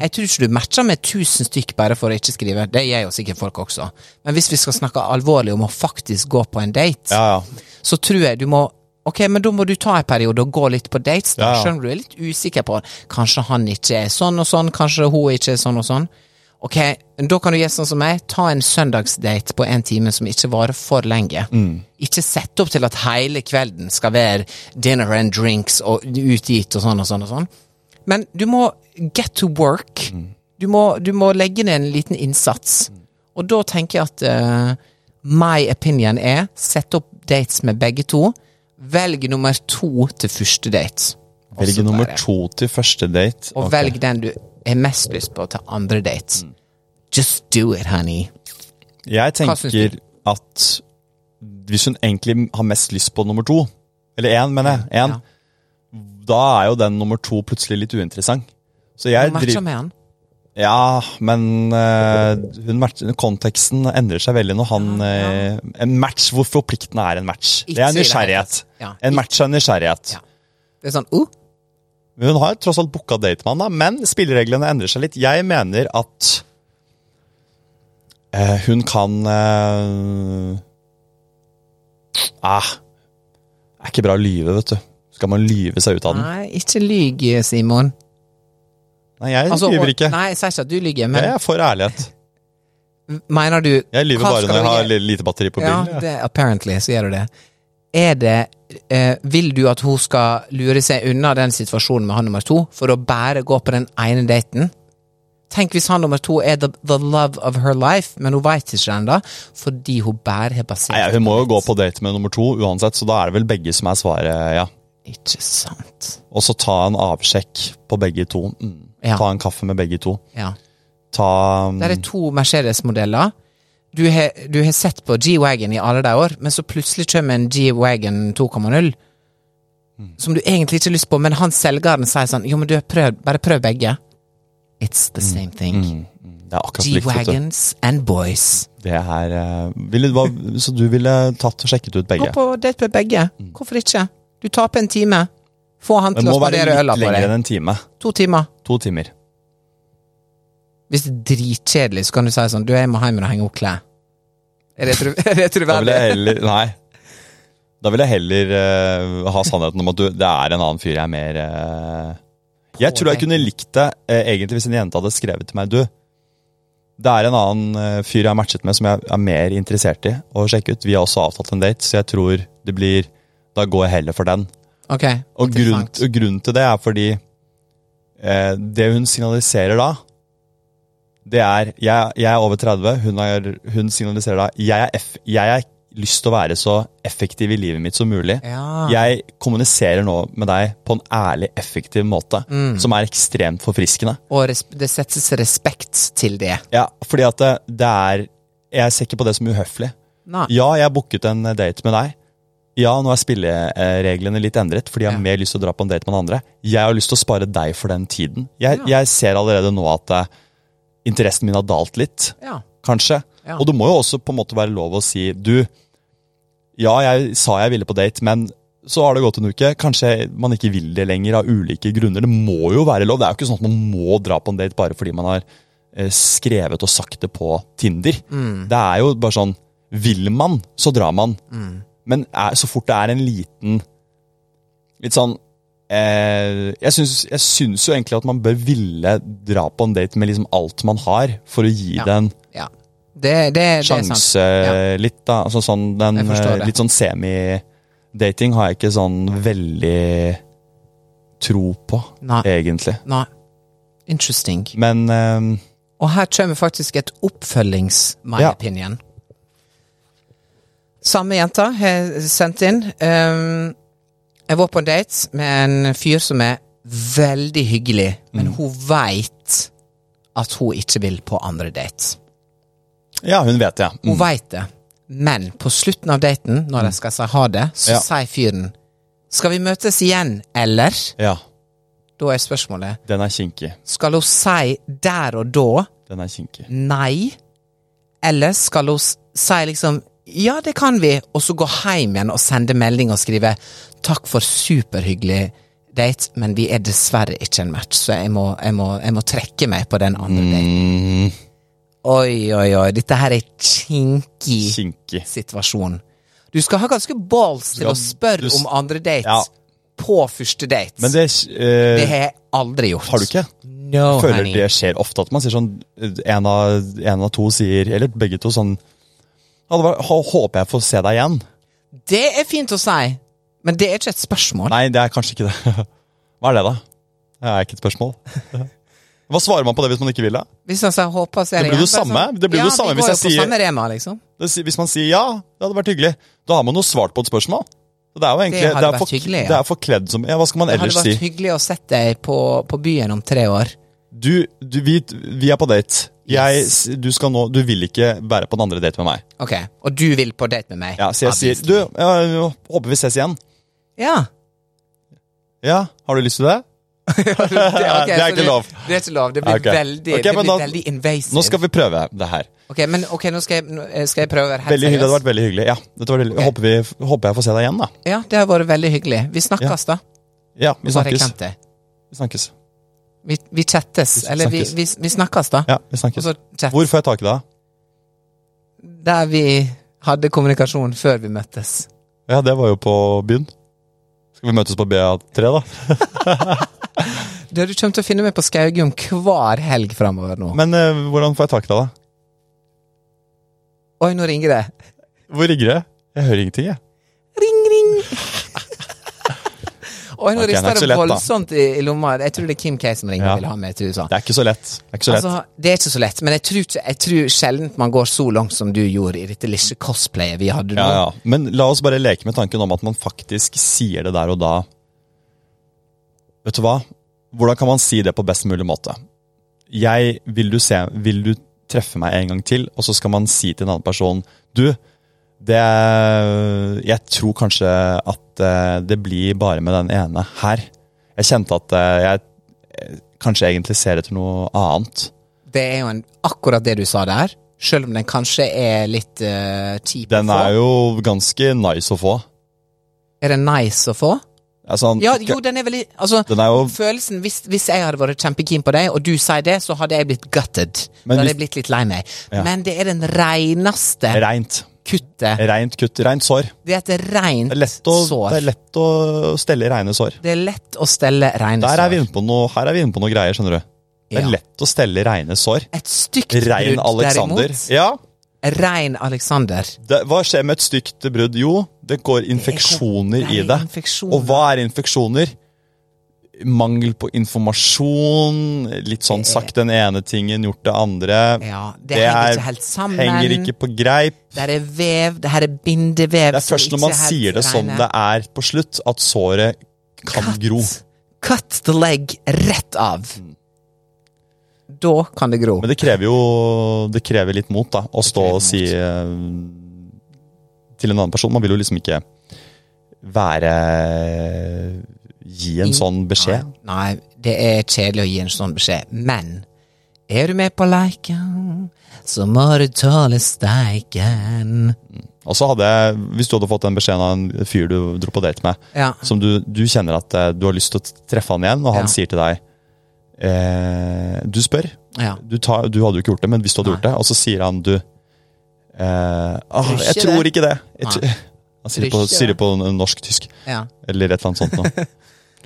[SPEAKER 3] Jeg tror ikke du matcher med tusen stykk bare for å ikke skrive. Det gjør jo sikkert folk også. Men hvis vi skal snakke alvorlig om å faktisk gå på en date,
[SPEAKER 4] Ja, ja.
[SPEAKER 3] så tror jeg du må Ok, men da må du ta en periode og gå litt på dates, da,
[SPEAKER 4] Ja, ja.
[SPEAKER 3] selv om du er litt usikker på Kanskje han ikke er sånn og sånn, kanskje hun ikke er sånn og sånn. Ok, men Da kan du gjøre sånn som meg, ta en søndagsdate på en time som ikke varer for lenge.
[SPEAKER 4] Mm.
[SPEAKER 3] Ikke sett opp til at hele kvelden skal være dinner and drinks og ut dit og sånn og sånn og sånn. Men du må get to work.
[SPEAKER 4] Mm.
[SPEAKER 3] Du, må, du må legge ned en liten innsats. Og da tenker jeg at eh, my opinion er sett opp dates med begge to. Velg nummer to til første date. Og
[SPEAKER 4] Velg
[SPEAKER 3] så
[SPEAKER 4] nummer
[SPEAKER 3] bare-
[SPEAKER 4] to til første date. Ok.
[SPEAKER 3] Og
[SPEAKER 4] Mm.
[SPEAKER 3] velg den du har mest lyst på til andre date. Just do it, honey.
[SPEAKER 4] Jeg
[SPEAKER 3] Hva syns
[SPEAKER 4] tenker at hvis hun egentlig har mest lyst på nummer to, eller én, mener jeg, én,
[SPEAKER 3] Ja.
[SPEAKER 4] da er jo den nummer to plutselig litt uinteressant. Så jeg
[SPEAKER 3] Og matcha
[SPEAKER 4] driver
[SPEAKER 3] med han.
[SPEAKER 4] Ja, men eh, hun matcher- konteksten endrer seg veldig når han eh, En match hvor forpliktende er en match.
[SPEAKER 3] Ikke
[SPEAKER 4] det er
[SPEAKER 3] i det hele
[SPEAKER 4] nysgjerrighet.
[SPEAKER 3] tatt. Ja.
[SPEAKER 4] En match er nysgjerrighet.
[SPEAKER 3] Ja. Det er sånn uh,
[SPEAKER 4] Men Hun har jo tross alt booka date med han, da, men spillereglene endrer seg litt. Jeg mener at eh, hun kan eh, Ah. Det er ikke bra å lyve, vet du. Skal man lyve seg ut av den?
[SPEAKER 3] Nei, ikke lyg, Simon.
[SPEAKER 4] Nei, jeg
[SPEAKER 3] Altså, og-
[SPEAKER 4] lyver ikke.
[SPEAKER 3] Nei, jeg sier ikke at du lyger, men
[SPEAKER 4] Jeg er for ærlighet.
[SPEAKER 3] mener du
[SPEAKER 4] Jeg lyver
[SPEAKER 3] hva
[SPEAKER 4] bare
[SPEAKER 3] skal
[SPEAKER 4] når jeg
[SPEAKER 3] du
[SPEAKER 4] har
[SPEAKER 3] gjøre?
[SPEAKER 4] li- lite batteri på bilen.
[SPEAKER 3] Ja,
[SPEAKER 4] jeg.
[SPEAKER 3] det, apparently så gjør du det. Er det eh, Vil du at hun skal lure seg unna den situasjonen med han nummer to, for å bare gå på den ene daten? Tenk hvis han nummer to er the, the love of her life, men hun veit ikke ennå, fordi hun bare har basert
[SPEAKER 4] Nei, Hun må jo gå på date med nummer to uansett, så da er det vel begge som er svaret, ja.
[SPEAKER 3] Ikke sant.
[SPEAKER 4] Og så ta en avsjekk på begge to. Mm.
[SPEAKER 3] Ja.
[SPEAKER 4] Ta en kaffe med begge to.
[SPEAKER 3] Ja.
[SPEAKER 4] Ta um,
[SPEAKER 3] Der er to Mercedes-modeller. Du har du har sett på G-Wagon i alle de år, men så plutselig kommer en G-Wagon 2,0.
[SPEAKER 4] Mm.
[SPEAKER 3] Som du egentlig ikke har lyst på, men han selgeren sier sånn Jo, men du, prøv, bare prøv begge. It's the
[SPEAKER 4] Mm.
[SPEAKER 3] same thing.
[SPEAKER 4] Det er akkurat likt. vet du.
[SPEAKER 3] G-Wagons and boys.
[SPEAKER 4] Det er, eh, ville, hva- så du ville tatt og sjekket ut
[SPEAKER 3] Gå
[SPEAKER 4] begge?
[SPEAKER 3] på date med begge. Hvorfor ikke? Du taper en time. Få han
[SPEAKER 4] Det
[SPEAKER 3] til å
[SPEAKER 4] må
[SPEAKER 3] spandere
[SPEAKER 4] være
[SPEAKER 3] øla
[SPEAKER 4] litt
[SPEAKER 3] på
[SPEAKER 4] lenger enn
[SPEAKER 3] deg.
[SPEAKER 4] en time.
[SPEAKER 3] To timer.
[SPEAKER 4] To timer.
[SPEAKER 3] Hvis det er dritkjedelig, så kan du si sånn Du, jeg må hjem og henge opp klær. Er det tro- er
[SPEAKER 4] Da
[SPEAKER 3] det
[SPEAKER 4] vil
[SPEAKER 3] troverdig?
[SPEAKER 4] jeg heller Nei. Da vil jeg heller eh, ha sannheten om at du, det er en annen fyr jeg er mer eh, Jeg tror jeg kunne likt det eh, egentlig hvis en jente hadde skrevet til meg Du, det er en annen eh, fyr jeg har matchet med som jeg er mer interessert i å sjekke ut. Vi har også avtalt en date, så jeg tror det blir Da går jeg heller for den.
[SPEAKER 3] Ok.
[SPEAKER 4] Og grunnen,
[SPEAKER 3] interessant.
[SPEAKER 4] og grunnen til det er fordi eh, det hun signaliserer da, det er Jeg, jeg er over 30, hun, er, hun signaliserer da jeg er eff- jeg har lyst til å være så effektiv i livet mitt som mulig.
[SPEAKER 3] Ja.
[SPEAKER 4] Jeg kommuniserer nå med deg på en ærlig, effektiv måte,
[SPEAKER 3] Mm.
[SPEAKER 4] som er ekstremt forfriskende.
[SPEAKER 3] Og res det settes respekt til det.
[SPEAKER 4] Ja, fordi at det, det er Jeg ser ikke på det som uhøflig.
[SPEAKER 3] Nei.
[SPEAKER 4] Ja, jeg booket en eh, date med deg. Ja, nå er spillereglene litt endret, fordi jeg har
[SPEAKER 3] Ja.
[SPEAKER 4] mer lyst til å dra på en date med den andre. Jeg har lyst til å spare deg for den tiden. Jeg, jeg ser allerede nå at eh, interessen min har dalt litt,
[SPEAKER 3] Ja.
[SPEAKER 4] kanskje.
[SPEAKER 3] Ja.
[SPEAKER 4] Og det må jo også på en måte være lov å si du, ja, jeg sa jeg ville på date, men så har det gått en uke. Kanskje man ikke vil det lenger av ulike grunner. Det må jo være lov. Det er jo ikke sånn at man må dra på en date bare fordi man har eh, skrevet og sagt det på Tinder.
[SPEAKER 3] Mm.
[SPEAKER 4] Det er jo bare sånn Vil man, så drar man.
[SPEAKER 3] Mm.
[SPEAKER 4] Men er, så fort det er en liten Litt sånn eh, jeg, syns, jeg syns jo egentlig at man bør ville dra på en date med liksom alt man har, for å gi
[SPEAKER 3] Ja.
[SPEAKER 4] det en
[SPEAKER 3] Ja. Det, det, det er sant.
[SPEAKER 4] sjanse litt, da. Altså sånn den
[SPEAKER 3] Jeg forstår
[SPEAKER 4] eh,
[SPEAKER 3] det.
[SPEAKER 4] litt sånn semi-dating har jeg ikke sånn veldig tro på,
[SPEAKER 3] Nei.
[SPEAKER 4] egentlig.
[SPEAKER 3] Nei. Interesting.
[SPEAKER 4] Men eh,
[SPEAKER 3] Og her kommer faktisk et oppfølgings-my
[SPEAKER 4] Ja.
[SPEAKER 3] opinion. Samme jenta har sendt inn. ehm, jeg var på en date med en fyr som er veldig hyggelig, men
[SPEAKER 4] Mm.
[SPEAKER 3] hun veit at hun ikke vil på andre date.
[SPEAKER 4] ja, hun vet det. ja.
[SPEAKER 3] Hun vet det. Men på slutten av daten, når de skal si ha det, så
[SPEAKER 4] Ja.
[SPEAKER 3] sier fyren Skal vi møtes igjen, eller?
[SPEAKER 4] Mm. Ja,
[SPEAKER 3] Da er spørsmålet
[SPEAKER 4] den er kinkig.
[SPEAKER 3] Skal hun si der og da
[SPEAKER 4] Den er kinkig.
[SPEAKER 3] nei? Eller skal hun s- si liksom Ja, det kan vi, og så gå hjem igjen og sende melding og skrive Takk for superhyggelig date, men vi er dessverre ikke en match, så jeg må, jeg må, jeg må trekke meg på den andre daten. Oi, oi, oi. Dette her er kinkig.
[SPEAKER 4] Kinkig.
[SPEAKER 3] situasjon. Du skal ha ganske balls til
[SPEAKER 4] skal-
[SPEAKER 3] å spørre
[SPEAKER 4] du s-
[SPEAKER 3] om andre dates
[SPEAKER 4] Ja.
[SPEAKER 3] på første date.
[SPEAKER 4] Men det, eh,
[SPEAKER 3] Det har jeg aldri gjort.
[SPEAKER 4] har du ikke?
[SPEAKER 3] No,
[SPEAKER 4] Jeg føler
[SPEAKER 3] honey.
[SPEAKER 4] det skjer ofte at man sier sånn En av, en av to sier, eller begge to, sånn ja, det var, hå- Håper jeg får se deg igjen.
[SPEAKER 3] Det er fint å si, men det er ikke et spørsmål.
[SPEAKER 4] Nei, det er kanskje ikke det. Hva er det, da? Det er ikke et spørsmål. Hva svarer man på det hvis man ikke vil det?
[SPEAKER 3] Hvis han sier 'håper å se
[SPEAKER 4] Det blir
[SPEAKER 3] deg
[SPEAKER 4] jo
[SPEAKER 3] igjen', bare
[SPEAKER 4] samme.
[SPEAKER 3] sånn,
[SPEAKER 4] Det blir jo
[SPEAKER 3] ja,
[SPEAKER 4] samme
[SPEAKER 3] vi
[SPEAKER 4] hvis
[SPEAKER 3] går
[SPEAKER 4] jeg
[SPEAKER 3] jo på
[SPEAKER 4] sier-
[SPEAKER 3] samme rema, liksom.
[SPEAKER 4] Det si- Hvis man sier ja, det hadde vært hyggelig, da har man jo svart på et spørsmål. Det er jo egentlig,
[SPEAKER 3] Det
[SPEAKER 4] det,
[SPEAKER 3] hadde
[SPEAKER 4] er,
[SPEAKER 3] vært
[SPEAKER 4] fork-
[SPEAKER 3] hyggelig, ja.
[SPEAKER 4] det er forkledd som ja, Hva skal man
[SPEAKER 3] Det hadde
[SPEAKER 4] ellers
[SPEAKER 3] vært
[SPEAKER 4] si?
[SPEAKER 3] hyggelig å sett deg på, på byen om tre år.
[SPEAKER 4] Du, du vi, vi er på date. Jeg, s- du, skal nå, du vil ikke være på den andre date med meg.
[SPEAKER 3] Ok, Og du vil på date med meg?
[SPEAKER 4] Ja, så jeg sier Du, jeg håper vi ses igjen.
[SPEAKER 3] Ja.
[SPEAKER 4] Ja, har du lyst til det?
[SPEAKER 3] Det, ok,
[SPEAKER 4] Det er
[SPEAKER 3] så
[SPEAKER 4] ikke lov.
[SPEAKER 3] Det er ikke lov. Det blir
[SPEAKER 4] Ok.
[SPEAKER 3] veldig,
[SPEAKER 4] Ok,
[SPEAKER 3] det
[SPEAKER 4] men
[SPEAKER 3] blir
[SPEAKER 4] da-
[SPEAKER 3] veldig invasive.
[SPEAKER 4] Nå skal vi prøve det her.
[SPEAKER 3] Ok, men ok, nå skal jeg, nå eh, skal jeg prøve å være helt
[SPEAKER 4] Veldig hyggelig, det
[SPEAKER 3] seriøs.
[SPEAKER 4] hadde vært veldig hyggelig. Ja, dette var veldig,
[SPEAKER 3] Ok.
[SPEAKER 4] håper, vi, håper jeg får se deg igjen, da.
[SPEAKER 3] Ja, det har vært veldig hyggelig. Vi snakkes, da.
[SPEAKER 4] Ja, vi
[SPEAKER 3] Bare
[SPEAKER 4] snakkes.
[SPEAKER 3] jeg glemte det.
[SPEAKER 4] Vi snakkes.
[SPEAKER 3] Vi, vi chattes.
[SPEAKER 4] Vi
[SPEAKER 3] Eller vi,
[SPEAKER 4] snakkes.
[SPEAKER 3] vi, vi snakkes, da.
[SPEAKER 4] Ja, vi snakkes.
[SPEAKER 3] Og så chat.
[SPEAKER 4] Hvor får jeg tak i deg?
[SPEAKER 3] Der vi hadde kommunikasjon før vi møttes.
[SPEAKER 4] Ja, det var jo på byen. Skal vi møtes på BA3, da?
[SPEAKER 3] Du, du kommer til å finne meg på Skaugum hver helg framover nå.
[SPEAKER 4] Men eh, hvordan får jeg tak i deg, da?
[SPEAKER 3] Oi, nå ringer det.
[SPEAKER 4] Hvor rigger det? Jeg hører ingenting, jeg.
[SPEAKER 3] Ring, ring! Oi,
[SPEAKER 4] Ok, den er
[SPEAKER 3] nå
[SPEAKER 4] ikke
[SPEAKER 3] rister
[SPEAKER 4] så
[SPEAKER 3] det
[SPEAKER 4] lett, da.
[SPEAKER 3] voldsomt i, i lomma. Jeg tror det er Kim K som ringer
[SPEAKER 4] Ja.
[SPEAKER 3] og vil ha meg til USA.
[SPEAKER 4] Det er ikke så lett. Det er ikke så lett.
[SPEAKER 3] Altså, det er ikke så lett, men jeg tror, ikke- jeg tror sjelden man går så langt som du gjorde i dette lille cosplayet vi hadde nå.
[SPEAKER 4] ja, ja. Men la oss bare leke med tanken om at man faktisk sier det der og da. Vet du hva? Hvordan kan man si det på best mulig måte? Jeg vil du se Vil du treffe meg en gang til? Og så skal man si til en annen person Du, det er- Jeg tror kanskje at eh, det blir bare med den ene her. Jeg kjente at eh, jeg eh, kanskje egentlig ser etter noe annet.
[SPEAKER 3] Det er jo en, akkurat det du sa der, selv om den kanskje er litt eh, kjip
[SPEAKER 4] Den
[SPEAKER 3] å få.
[SPEAKER 4] er jo ganske nice å få.
[SPEAKER 3] Er den nice å få?
[SPEAKER 4] Altså,
[SPEAKER 3] Ja, jo, den er veldig Altså,
[SPEAKER 4] Den er jo-
[SPEAKER 3] følelsen hvis, hvis jeg hadde vært kjempekeen på deg, og du sier det, så hadde jeg blitt gutted.
[SPEAKER 4] Men
[SPEAKER 3] da hadde
[SPEAKER 4] hvis-
[SPEAKER 3] jeg blitt litt lei meg.
[SPEAKER 4] Ja.
[SPEAKER 3] Men det er den reineste
[SPEAKER 4] Reint.
[SPEAKER 3] kuttet.
[SPEAKER 4] Reint kutt. Reint sår.
[SPEAKER 3] Det er et reint
[SPEAKER 4] Det er lett å,
[SPEAKER 3] sår.
[SPEAKER 4] det er lett å stelle i reine sår.
[SPEAKER 3] Det er lett å stelle reine
[SPEAKER 4] Der er vi
[SPEAKER 3] sår.
[SPEAKER 4] inne på noe, her er vi inne på noe greier, skjønner du. Det er
[SPEAKER 3] Ja.
[SPEAKER 4] lett å stelle i reine sår.
[SPEAKER 3] Et stygt
[SPEAKER 4] Rein
[SPEAKER 3] brudd,
[SPEAKER 4] Alexander.
[SPEAKER 3] derimot.
[SPEAKER 4] Ja,
[SPEAKER 3] Rein Alexander.
[SPEAKER 4] det, hva skjer med et stygt brudd? Jo, det går infeksjoner
[SPEAKER 3] Det
[SPEAKER 4] i
[SPEAKER 3] er
[SPEAKER 4] det.
[SPEAKER 3] infeksjoner.
[SPEAKER 4] Og hva er infeksjoner? Mangel på informasjon, litt sånn sagt den ene tingen, gjort det andre.
[SPEAKER 3] Ja, det henger ikke helt sammen.
[SPEAKER 4] Henger ikke på greip.
[SPEAKER 3] Der er vev, det her er bindevev
[SPEAKER 4] Det er først når man sier det sånn, som det er på slutt, at såret kan gro. Mm.
[SPEAKER 3] Cut the leg rett av. Da kan det gro.
[SPEAKER 4] Men det krever jo det krever litt mot da, å stå og si eh, til en annen person. Man vil jo liksom ikke være Gi en sånn beskjed.
[SPEAKER 3] Nei, det er kjedelig å gi en sånn beskjed, men er du med på leiken, så må du tåle steiken.
[SPEAKER 4] Og så hadde jeg, Hvis du hadde fått den beskjeden av en fyr du dro på date med,
[SPEAKER 3] Ja.
[SPEAKER 4] som du, du kjenner at eh, du har lyst til å treffe han igjen, og
[SPEAKER 3] Ja.
[SPEAKER 4] han sier til deg eh, Du spør.
[SPEAKER 3] Ja.
[SPEAKER 4] Du, tar, du hadde jo ikke gjort det, men hvis du hadde
[SPEAKER 3] Nei.
[SPEAKER 4] gjort det, og så sier han du eh, ah,
[SPEAKER 3] Tror ikke
[SPEAKER 4] Jeg tror
[SPEAKER 3] det.
[SPEAKER 4] ikke det. Jeg tr
[SPEAKER 3] Nei.
[SPEAKER 4] han sier det på,
[SPEAKER 3] Tror ikke
[SPEAKER 4] sier det på norsk-tysk,
[SPEAKER 3] Ja.
[SPEAKER 4] eller et eller annet sånt noe.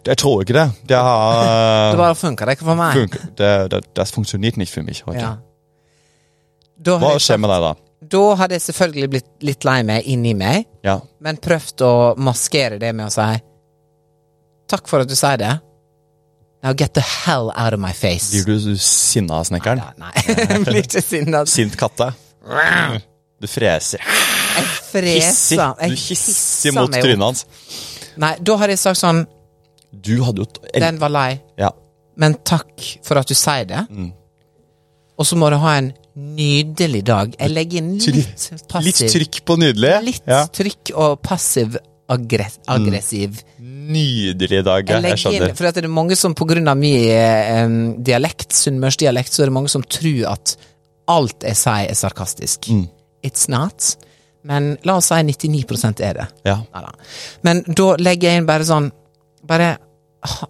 [SPEAKER 4] Jeg tror ikke det. Det
[SPEAKER 3] Det
[SPEAKER 4] har eh,
[SPEAKER 3] bare funka det ikke for meg.
[SPEAKER 4] funket. Det, det, det funktionert nicht for meg. vet du.
[SPEAKER 3] Ja. Da
[SPEAKER 4] Hva
[SPEAKER 3] hadde, jeg,
[SPEAKER 4] skjer med deg da?
[SPEAKER 3] da hadde jeg selvfølgelig blitt litt lei meg inni meg,
[SPEAKER 4] Ja.
[SPEAKER 3] men prøvd å maskere det med å si Takk for at du sier det. Now get the hell out of my face.
[SPEAKER 4] Blir du sinna av snekkeren?
[SPEAKER 3] Ja, nei, jeg blir ikke sinna.
[SPEAKER 4] Sint katte? Du freser. Hisser.
[SPEAKER 3] Jeg freser.
[SPEAKER 4] Du
[SPEAKER 3] Jeg
[SPEAKER 4] hisser mot
[SPEAKER 3] meg opp.
[SPEAKER 4] trynet hans.
[SPEAKER 3] Nei, da hadde jeg sagt sånn
[SPEAKER 4] Du hadde jo t- el-
[SPEAKER 3] Den var lei,
[SPEAKER 4] Ja.
[SPEAKER 3] men takk for at du sier det.
[SPEAKER 4] Mm.
[SPEAKER 3] Og så må du ha en nydelig dag. Jeg legger inn litt passiv
[SPEAKER 4] Litt trykk på nydelig.
[SPEAKER 3] litt
[SPEAKER 4] Ja. Mm.
[SPEAKER 3] trykk og passiv aggre- aggressiv.
[SPEAKER 4] Nydelig dag.
[SPEAKER 3] Jeg
[SPEAKER 4] Jeg,
[SPEAKER 3] legger inn,
[SPEAKER 4] skjønner.
[SPEAKER 3] for at det er mange som på grunn av min eh, em, dialekt, sunnmørsdialekt, så er det mange som tror at alt jeg sier er sarkastisk.
[SPEAKER 4] Mm.
[SPEAKER 3] It's not. Men la oss si 99 er det.
[SPEAKER 4] Ja.
[SPEAKER 3] Neida. Men da legger jeg inn bare sånn Bare ha,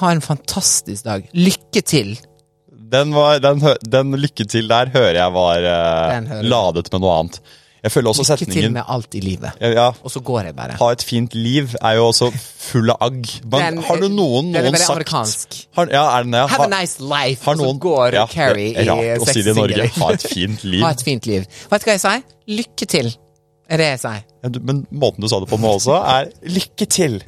[SPEAKER 3] ha en fantastisk dag. Lykke til.
[SPEAKER 4] Den, var, den, hø- den lykke til der hører jeg var eh,
[SPEAKER 3] Den hører jeg.
[SPEAKER 4] ladet med noe annet. Jeg føler også
[SPEAKER 3] Lykke til
[SPEAKER 4] setningen
[SPEAKER 3] med alt i livet.
[SPEAKER 4] ja, ja,
[SPEAKER 3] Og så går jeg bare.
[SPEAKER 4] Ha et fint liv er jo også full av agg. Men
[SPEAKER 3] Den-
[SPEAKER 4] har du noen,
[SPEAKER 3] den er
[SPEAKER 4] noen
[SPEAKER 3] veldig
[SPEAKER 4] sagt
[SPEAKER 3] amerikansk.
[SPEAKER 4] Har, ja, er den det?
[SPEAKER 3] Have a
[SPEAKER 4] Har-
[SPEAKER 3] nice life.
[SPEAKER 4] har
[SPEAKER 3] og
[SPEAKER 4] noen,
[SPEAKER 3] så går
[SPEAKER 4] ja,
[SPEAKER 3] Carrie
[SPEAKER 4] det er
[SPEAKER 3] i
[SPEAKER 4] Rart å si det i Norge. Ha et fint liv.
[SPEAKER 3] Ha et fint liv. Vet du hva jeg sier? Lykke til, er det jeg sier.
[SPEAKER 4] Ja, du- Men måten du sa det på nå også, er lykke til.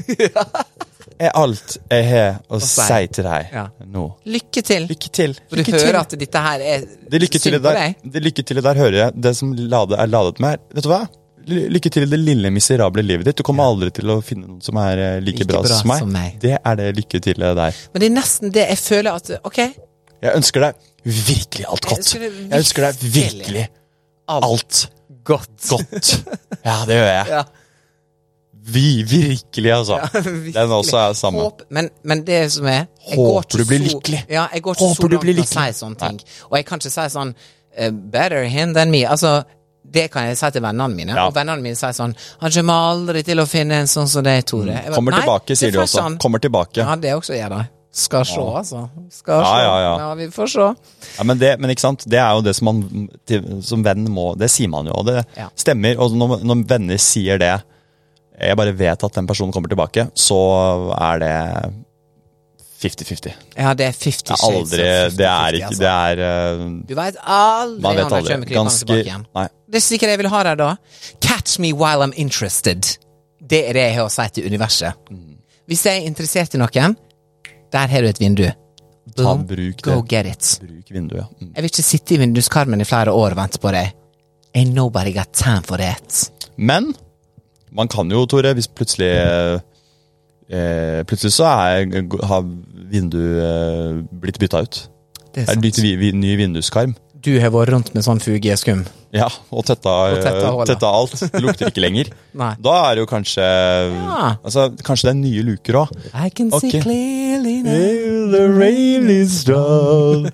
[SPEAKER 4] Er alt jeg har å
[SPEAKER 3] si.
[SPEAKER 4] si til deg
[SPEAKER 3] Ja.
[SPEAKER 4] nå.
[SPEAKER 3] Lykke til.
[SPEAKER 4] Lykke til.
[SPEAKER 3] For du
[SPEAKER 4] Lykke
[SPEAKER 3] hører
[SPEAKER 4] til.
[SPEAKER 3] at dette her er
[SPEAKER 4] Det lykke til i
[SPEAKER 3] synd på
[SPEAKER 4] der,
[SPEAKER 3] deg.
[SPEAKER 4] det lykke til i der hører jeg det som lade, er ladet med. er- Vet du hva? Ly- Lykke til i det lille, miserable livet ditt. Du kommer aldri til å finne noen som er eh, like,
[SPEAKER 3] Like
[SPEAKER 4] bra,
[SPEAKER 3] bra
[SPEAKER 4] som, meg.
[SPEAKER 3] som meg.
[SPEAKER 4] Det er det lykke til i der.
[SPEAKER 3] Men det er nesten det jeg føler at Ok,
[SPEAKER 4] Jeg ønsker deg virkelig alt
[SPEAKER 3] Jeg
[SPEAKER 4] godt.
[SPEAKER 3] ønsker deg
[SPEAKER 4] Jeg ønsker deg virkelig
[SPEAKER 3] virkelig
[SPEAKER 4] alt
[SPEAKER 3] godt.
[SPEAKER 4] godt. Ja, det gjør jeg.
[SPEAKER 3] Ja.
[SPEAKER 4] Vi, virkelig, altså.
[SPEAKER 3] virkelig.
[SPEAKER 4] Den også er samme.
[SPEAKER 3] Håp, men, men det som er jeg
[SPEAKER 4] Håper
[SPEAKER 3] går ikke
[SPEAKER 4] du blir
[SPEAKER 3] så-
[SPEAKER 4] lykkelig.
[SPEAKER 3] Ja, jeg går ikke
[SPEAKER 4] Håper
[SPEAKER 3] så
[SPEAKER 4] du
[SPEAKER 3] langt
[SPEAKER 4] blir
[SPEAKER 3] med å
[SPEAKER 4] lykkelig.
[SPEAKER 3] si sånne ting. Og jeg kan ikke si sånn eh, Better him than me. Altså, det kan jeg si til vennene mine.
[SPEAKER 4] Ja.
[SPEAKER 3] Og vennene mine sier sånn Han kommer aldri til å finne en sånn som deg, Tore. Jeg bare,
[SPEAKER 4] Kommer
[SPEAKER 3] «Nei,
[SPEAKER 4] tilbake,
[SPEAKER 3] det
[SPEAKER 4] sier de
[SPEAKER 3] får
[SPEAKER 4] også.
[SPEAKER 3] ikke han.»
[SPEAKER 4] Kommer tilbake.
[SPEAKER 3] Ja, det også gjør de. Skal se, altså. Skal
[SPEAKER 4] Ja,
[SPEAKER 3] se.
[SPEAKER 4] ja, ja.
[SPEAKER 3] vi får se.
[SPEAKER 4] Ja, men, det, men ikke sant? det er jo det som man til- som venn må Det sier man jo, og det
[SPEAKER 3] Ja.
[SPEAKER 4] stemmer. Og når, når venner sier det Jeg bare vet at den personen kommer tilbake, så er det 50-50. Det,
[SPEAKER 3] Ja, det er 50
[SPEAKER 4] er
[SPEAKER 3] shades.
[SPEAKER 4] aldri
[SPEAKER 3] of
[SPEAKER 4] Det er
[SPEAKER 3] 50,
[SPEAKER 4] ikke
[SPEAKER 3] altså.
[SPEAKER 4] Det er eh,
[SPEAKER 3] Du veit aldri
[SPEAKER 4] Man vet
[SPEAKER 3] når de
[SPEAKER 4] aldri.
[SPEAKER 3] kommer krypende tilbake igjen.
[SPEAKER 4] Nei.
[SPEAKER 3] Det er sikkert jeg vil ha der da. Catch me while I'm interested. Det er det jeg har å si til universet.
[SPEAKER 4] Mm.
[SPEAKER 3] Hvis jeg er interessert i noen, der har du et vindu.
[SPEAKER 4] Ta bruk
[SPEAKER 3] go
[SPEAKER 4] det.
[SPEAKER 3] get it.
[SPEAKER 4] Bruk vinduet. Mm.
[SPEAKER 3] Jeg vil ikke sitte i vinduskarmen i flere år og vente på deg. Ain't nobody got time for that.
[SPEAKER 4] Men man kan jo, Tore, hvis plutselig eh, Plutselig så er, har vinduet eh, blitt bytta ut.
[SPEAKER 3] Det
[SPEAKER 4] Det er nytt, vi, vi, ny vinduskarm.
[SPEAKER 3] Du har vært rundt med sånn fugeskum.
[SPEAKER 4] Ja, og tetta,
[SPEAKER 3] tetta
[SPEAKER 4] eh,
[SPEAKER 3] hullet.
[SPEAKER 4] tetta alt. Det lukter ikke lenger.
[SPEAKER 3] Nei.
[SPEAKER 4] Da er det jo kanskje altså, Kanskje det er nye luker òg.
[SPEAKER 3] I can
[SPEAKER 4] Ok.
[SPEAKER 3] see clearly now.
[SPEAKER 4] The rain is down.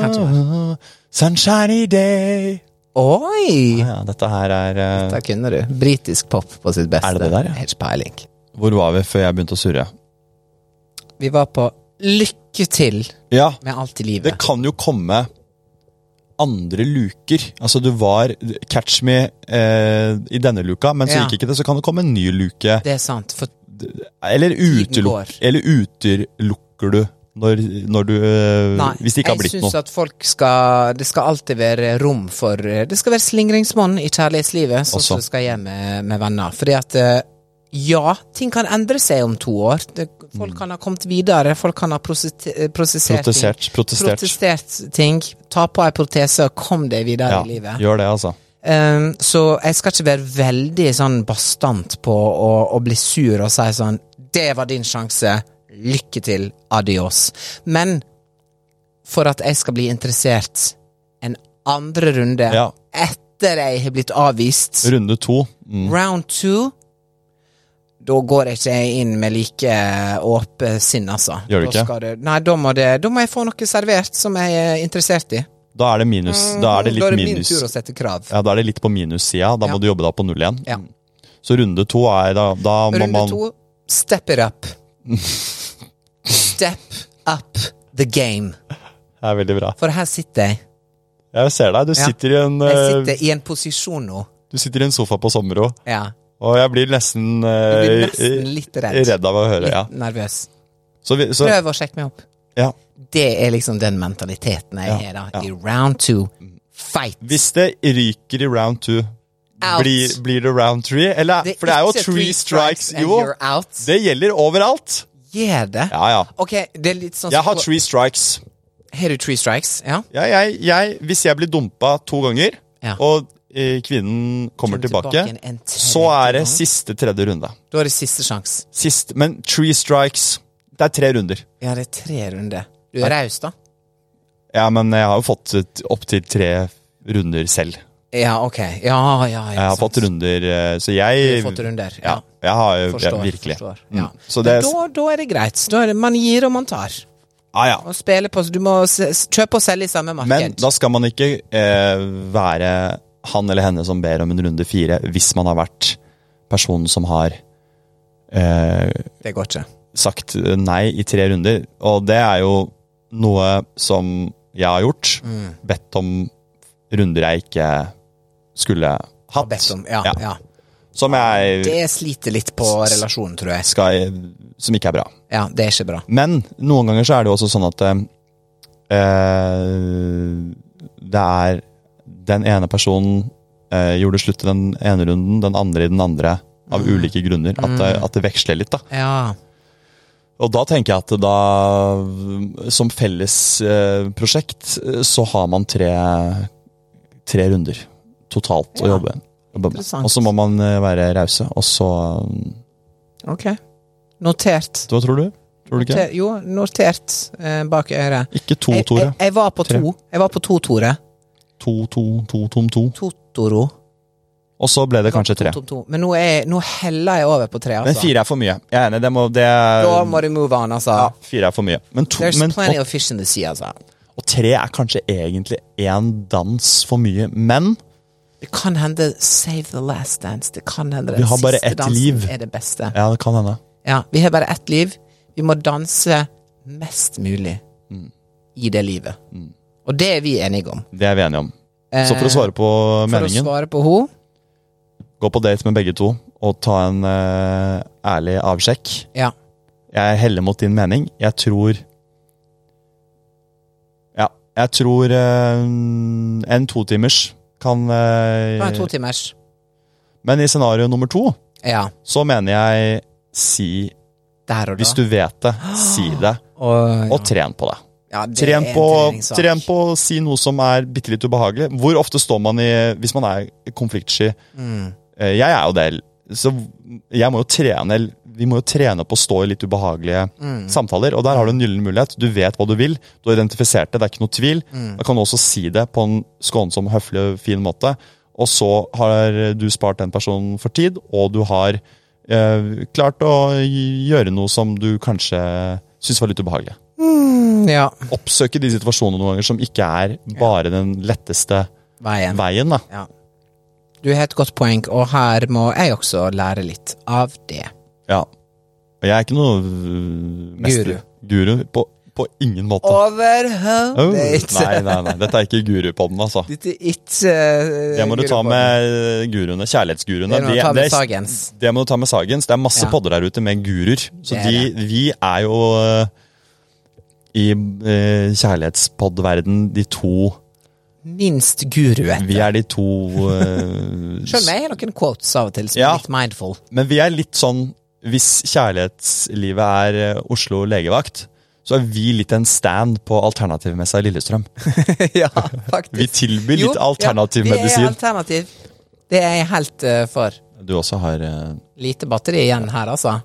[SPEAKER 3] kan ikke
[SPEAKER 4] Sunshiny day.
[SPEAKER 3] Oi!
[SPEAKER 4] Ja, dette her er eh,
[SPEAKER 3] Der kunne du. Britisk pop på sitt beste.
[SPEAKER 4] Er det det der, ja?
[SPEAKER 3] Helt peiling.
[SPEAKER 4] Hvor var vi før jeg begynte å surre?
[SPEAKER 3] Vi var på lykke til
[SPEAKER 4] Ja,
[SPEAKER 3] med alt i livet.
[SPEAKER 4] det kan jo komme andre luker. Altså, du var Catch me eh, i denne luka, men så
[SPEAKER 3] Ja.
[SPEAKER 4] gikk ikke det. Så kan det komme en ny luke.
[SPEAKER 3] Det er sant. For
[SPEAKER 4] Eller,
[SPEAKER 3] går.
[SPEAKER 4] uteluk, eller utelukker du når, når du eh,
[SPEAKER 3] Nei,
[SPEAKER 4] Hvis det ikke har
[SPEAKER 3] jeg
[SPEAKER 4] blitt
[SPEAKER 3] syns
[SPEAKER 4] noe.
[SPEAKER 3] at folk skal Det skal alltid være rom for eh, Det skal være slingringsmonn i kjærlighetslivet, sånn
[SPEAKER 4] Også.
[SPEAKER 3] som det skal gjøre med, med venner. Fordi at eh, ja, ting kan endre seg om to år. Det,
[SPEAKER 4] Mm.
[SPEAKER 3] folk kan ha kommet videre, folk kan ha prosete- eh, prosessert ting.
[SPEAKER 4] Protestert. Protestert.
[SPEAKER 3] Protestert ting. Ta på ei protese og kom deg videre
[SPEAKER 4] Ja,
[SPEAKER 3] i livet.
[SPEAKER 4] gjør det, altså.
[SPEAKER 3] Ehm, så jeg skal ikke være veldig sånn bastant på å, å bli sur og si sånn Det var din sjanse. Lykke til. Adios. Men for at jeg skal bli interessert en andre runde
[SPEAKER 4] Ja.
[SPEAKER 3] etter jeg har blitt avvist,
[SPEAKER 4] Runde to. Mm.
[SPEAKER 3] round two da går jeg ikke inn med like åpent sinn, altså.
[SPEAKER 4] Gjør du
[SPEAKER 3] Da
[SPEAKER 4] ikke?
[SPEAKER 3] skal det- nei, da må, det, da må jeg få noe servert som jeg er interessert i.
[SPEAKER 4] Da er det minus.
[SPEAKER 3] Mm,
[SPEAKER 4] Da er det litt
[SPEAKER 3] min
[SPEAKER 4] minus.
[SPEAKER 3] tur å sette krav.
[SPEAKER 4] Ja, da er det litt på minussida. Da
[SPEAKER 3] Ja.
[SPEAKER 4] må du jobbe deg på null igjen.
[SPEAKER 3] Ja.
[SPEAKER 4] Så runde to er da, da må
[SPEAKER 3] Runde
[SPEAKER 4] man
[SPEAKER 3] to, step it up. Step up the game.
[SPEAKER 4] Det er veldig bra.
[SPEAKER 3] For her sitter jeg.
[SPEAKER 4] Jeg ser deg. Du
[SPEAKER 3] Ja.
[SPEAKER 4] sitter, i, en,
[SPEAKER 3] Jeg
[SPEAKER 4] eh,
[SPEAKER 3] sitter i en posisjon nå.
[SPEAKER 4] du sitter i en sofa på sommero,
[SPEAKER 3] Ja.
[SPEAKER 4] og jeg blir nesten,
[SPEAKER 3] Jeg blir
[SPEAKER 4] eh,
[SPEAKER 3] nesten litt redd.
[SPEAKER 4] redd av å høre.
[SPEAKER 3] Litt
[SPEAKER 4] Ja.
[SPEAKER 3] nervøs.
[SPEAKER 4] Så, vi, så
[SPEAKER 3] Prøv å sjekke meg opp.
[SPEAKER 4] ja.
[SPEAKER 3] Det er liksom den mentaliteten jeg
[SPEAKER 4] Ja,
[SPEAKER 3] har da.
[SPEAKER 4] ja.
[SPEAKER 3] I round two, fight!
[SPEAKER 4] Hvis det ryker i round two,
[SPEAKER 3] Out.
[SPEAKER 4] blir, blir det round three? Eller,
[SPEAKER 3] Det er
[SPEAKER 4] for det er jo
[SPEAKER 3] ikke
[SPEAKER 4] three
[SPEAKER 3] three strikes
[SPEAKER 4] strikes,
[SPEAKER 3] and
[SPEAKER 4] jo.
[SPEAKER 3] you're out.
[SPEAKER 4] Det gjelder overalt.
[SPEAKER 3] Gjør det?
[SPEAKER 4] Ja, ja.
[SPEAKER 3] Ok, det er litt sånn
[SPEAKER 4] Jeg har three strikes.
[SPEAKER 3] Har du three strikes? Ja.
[SPEAKER 4] Ja, jeg, jeg, hvis jeg blir dumpa to ganger,
[SPEAKER 3] Ja.
[SPEAKER 4] og eh, kvinnen kommer
[SPEAKER 3] Kommer tilbake
[SPEAKER 4] tilbake,
[SPEAKER 3] igjen en tredje
[SPEAKER 4] så er det
[SPEAKER 3] gang.
[SPEAKER 4] siste tredje runde.
[SPEAKER 3] Da er det siste sjanse.
[SPEAKER 4] Sist, men three strikes Det er tre runder.
[SPEAKER 3] Ja, det er tre runder. Du er raus, da?
[SPEAKER 4] Ja, men jeg har jo fått ut opptil tre runder selv.
[SPEAKER 3] Ja, ok. Ja, ja, ja.
[SPEAKER 4] Jeg har
[SPEAKER 3] sant.
[SPEAKER 4] fått runder, eh, så jeg
[SPEAKER 3] Sånn. Du har fått runder, ja.
[SPEAKER 4] jeg har jo
[SPEAKER 3] Forstår.
[SPEAKER 4] ja, virkelig.
[SPEAKER 3] Forstår.
[SPEAKER 4] Mm.
[SPEAKER 3] Ja.
[SPEAKER 4] Så det
[SPEAKER 3] Men da, da er det greit. Da er det, man gir og man tar.
[SPEAKER 4] ah, Ja, ja.
[SPEAKER 3] Man spiller på, du må se- s- kjøpe og selge i samme marked.
[SPEAKER 4] Men da skal man ikke eh, være han eller henne som ber om en runde fire, hvis man har vært personen som har eh,
[SPEAKER 3] Det går ikke.
[SPEAKER 4] sagt nei i tre runder. Og det er jo noe som jeg har gjort.
[SPEAKER 3] Mm.
[SPEAKER 4] Bedt om runder jeg ikke skulle
[SPEAKER 3] Har
[SPEAKER 4] hatt.
[SPEAKER 3] bedt om. Ja,
[SPEAKER 4] Ja.
[SPEAKER 3] ja.
[SPEAKER 4] Som jeg
[SPEAKER 3] Det sliter litt på relasjonen, tror jeg.
[SPEAKER 4] skal Som ikke er bra.
[SPEAKER 3] Ja, det er ikke bra.
[SPEAKER 4] Men noen ganger så er det jo også sånn at eh, Det er den ene personen eh, gjorde slutt i den ene runden, den andre i den andre. Av
[SPEAKER 3] Mm.
[SPEAKER 4] ulike grunner. At det, at det veksler litt, da.
[SPEAKER 3] Ja.
[SPEAKER 4] Og da tenker jeg at da Som felles eh, prosjekt eh, så har man tre, tre runder totalt å jobbe, jobbe med.
[SPEAKER 3] interessant.
[SPEAKER 4] Og så må man eh, være rause, og så
[SPEAKER 3] Ok. Notert.
[SPEAKER 4] Hva tror du? Tror du ikke?
[SPEAKER 3] Noter, jo, notert eh, bak øret.
[SPEAKER 4] Ikke to,
[SPEAKER 3] Jeg,
[SPEAKER 4] Tore.
[SPEAKER 3] jeg, jeg var på
[SPEAKER 4] Tre.
[SPEAKER 3] to. Jeg var på to, Tore.
[SPEAKER 4] To, to, to, tom, to.
[SPEAKER 3] Totoro.
[SPEAKER 4] Og så ble det kanskje tre.
[SPEAKER 3] To, to, to. Men nå, er, nå heller jeg over på tre,
[SPEAKER 4] Men
[SPEAKER 3] altså.
[SPEAKER 4] fire er for mye. Jeg er enig. Det må, det,
[SPEAKER 3] Da må du move on, altså.
[SPEAKER 4] ja, fire er for mye. Men to,
[SPEAKER 3] There's
[SPEAKER 4] men,
[SPEAKER 3] plenty
[SPEAKER 4] og,
[SPEAKER 3] of fish in the sea, altså.
[SPEAKER 4] og tre er kanskje egentlig én dans for mye. Men
[SPEAKER 3] Det kan hende Save the Last Dance. Det kan hende
[SPEAKER 4] Vi
[SPEAKER 3] den
[SPEAKER 4] har bare
[SPEAKER 3] siste
[SPEAKER 4] ett
[SPEAKER 3] dansen
[SPEAKER 4] liv.
[SPEAKER 3] er det beste. Ja.
[SPEAKER 4] ja, det kan hende.
[SPEAKER 3] Vi har bare ett liv. Vi må danse mest mulig
[SPEAKER 4] Mm.
[SPEAKER 3] i det livet. Og det er vi enige om.
[SPEAKER 4] Det er vi enige om. Så for
[SPEAKER 3] Eh,
[SPEAKER 4] å svare på
[SPEAKER 3] For å
[SPEAKER 4] meningen
[SPEAKER 3] svare på henne
[SPEAKER 4] Gå på date med begge to og ta en eh, ærlig avsjekk.
[SPEAKER 3] Ja.
[SPEAKER 4] Jeg heller mot din mening. Jeg tror Ja, jeg tror eh, en totimers kan eh,
[SPEAKER 3] Det var en totimers.
[SPEAKER 4] Men i scenario nummer to
[SPEAKER 3] Ja.
[SPEAKER 4] så mener jeg si
[SPEAKER 3] Der og da.
[SPEAKER 4] Hvis du vet det, si det,
[SPEAKER 3] og,
[SPEAKER 4] og tren på det.
[SPEAKER 3] ja, det
[SPEAKER 4] Tren
[SPEAKER 3] er en
[SPEAKER 4] på,
[SPEAKER 3] treningssak.
[SPEAKER 4] tren på å si noe som er bitte litt ubehagelig. Hvor ofte står man i Hvis man er konfliktsky
[SPEAKER 3] Mm.
[SPEAKER 4] Eh, Jeg er jo det. Så jeg må jo trene Vi må jo trene på å stå i litt ubehagelige
[SPEAKER 3] Mm.
[SPEAKER 4] samtaler. Og der har du en gyllen mulighet. Du vet hva du vil. Du har identifisert det. Det er ikke noe tvil.
[SPEAKER 3] Mm.
[SPEAKER 4] Da kan du også si det på en skånsom, høflig og fin måte. Og så har du spart den personen for tid, og du har eh, klart å gjøre noe som du kanskje syns var litt ubehagelig
[SPEAKER 3] Ja.
[SPEAKER 4] oppsøke de situasjonene noen ganger som ikke er bare den letteste
[SPEAKER 3] Veien.
[SPEAKER 4] veien. da.
[SPEAKER 3] Ja. Du har et godt poeng, og her må jeg også lære litt av det.
[SPEAKER 4] Ja. Og jeg er ikke noe øh, mester. Guru. På, på ingen måte. Oh, nei,
[SPEAKER 3] Overhodet
[SPEAKER 4] nei, nei. Dette er ikke gurupodden, altså.
[SPEAKER 3] Dette er ikke eh,
[SPEAKER 4] Det må du ta
[SPEAKER 3] grunnpodden.
[SPEAKER 4] med eh, guruene. Kjærlighetsguruene.
[SPEAKER 3] Det må du ta med Sagens.
[SPEAKER 4] det må du ta med Sagens. Det er masse
[SPEAKER 3] Ja.
[SPEAKER 4] podder der ute med guruer. Så
[SPEAKER 3] Det er
[SPEAKER 4] de, vi er jo øh, i øh, kjærlighetspodverden de to
[SPEAKER 3] Minst guruen.
[SPEAKER 4] Vi er de to øh,
[SPEAKER 3] Selv om jeg har noen quotes av og til som
[SPEAKER 4] Ja.
[SPEAKER 3] er litt mindful.
[SPEAKER 4] Men vi er litt sånn Hvis kjærlighetslivet er eh, Oslo legevakt, så er vi litt en stand på alternativmessa i Lillestrøm.
[SPEAKER 3] ja, faktisk.
[SPEAKER 4] Vi tilbyr litt alternativ
[SPEAKER 3] ja,
[SPEAKER 4] medisin.
[SPEAKER 3] Det er alternativ. Det er jeg helt eh, for.
[SPEAKER 4] Du også har eh,
[SPEAKER 3] Lite batteri igjen her, altså.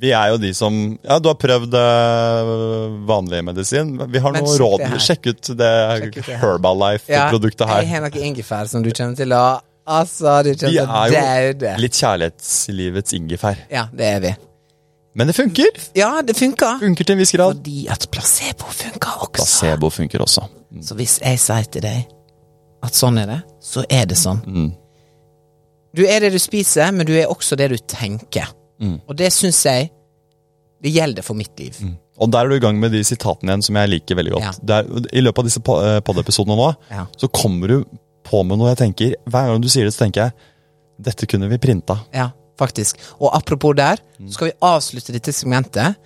[SPEAKER 4] Vi er jo de som Ja, du har prøvd eh, vanlig medisin. Vi har
[SPEAKER 3] Men
[SPEAKER 4] noe
[SPEAKER 3] sjekk
[SPEAKER 4] råd.
[SPEAKER 3] det her.
[SPEAKER 4] Sjekk ut det
[SPEAKER 3] Sjekk ut det her. Ja,
[SPEAKER 4] Herbalife-produktet
[SPEAKER 3] Jeg
[SPEAKER 4] her.
[SPEAKER 3] har noe ingefær som du kjenner til å Altså, du
[SPEAKER 4] Vi
[SPEAKER 3] kjenner
[SPEAKER 4] er
[SPEAKER 3] til å
[SPEAKER 4] jo
[SPEAKER 3] daude.
[SPEAKER 4] litt kjærlighetslivets ingefær.
[SPEAKER 3] Ja, det er vi.
[SPEAKER 4] Men det funker!
[SPEAKER 3] Ja, det funker.
[SPEAKER 4] Funker til en viss grad.
[SPEAKER 3] Fordi at placebo funker også.
[SPEAKER 4] Placebo funker også.
[SPEAKER 3] Så hvis jeg sier til deg at sånn er det, så er det sånn.
[SPEAKER 4] Mm. Mm.
[SPEAKER 3] Du er det du spiser, men du er også det du tenker. Og det syns jeg Det gjelder for mitt liv.
[SPEAKER 4] Og der er du i gang med de sitatene igjen som jeg liker veldig godt. Der, I løpet av disse po- eh, poddepisodene nå,
[SPEAKER 3] Ja.
[SPEAKER 4] så kommer du på med noe jeg tenker, hver gang du sier det, så tenker jeg, dette kunne vi printa.
[SPEAKER 3] Ja, faktisk. Og apropos der,
[SPEAKER 4] Mm.
[SPEAKER 3] så skal vi avslutte dette segmentet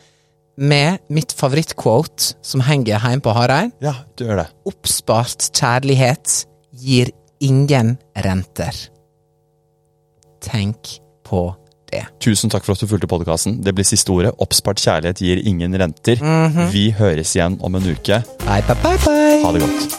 [SPEAKER 3] med mitt favorittquote som henger hjemme på Hareid.
[SPEAKER 4] Ja, du gjør det.
[SPEAKER 3] Oppspart kjærlighet gir ingen renter. Tenk på det.
[SPEAKER 4] Tusen takk for at du fulgte podkasten. Det blir siste ordet. Oppspart kjærlighet gir ingen renter. Vi høres igjen om en uke.
[SPEAKER 3] Bye, bye, bye, bye.
[SPEAKER 4] Ha det godt.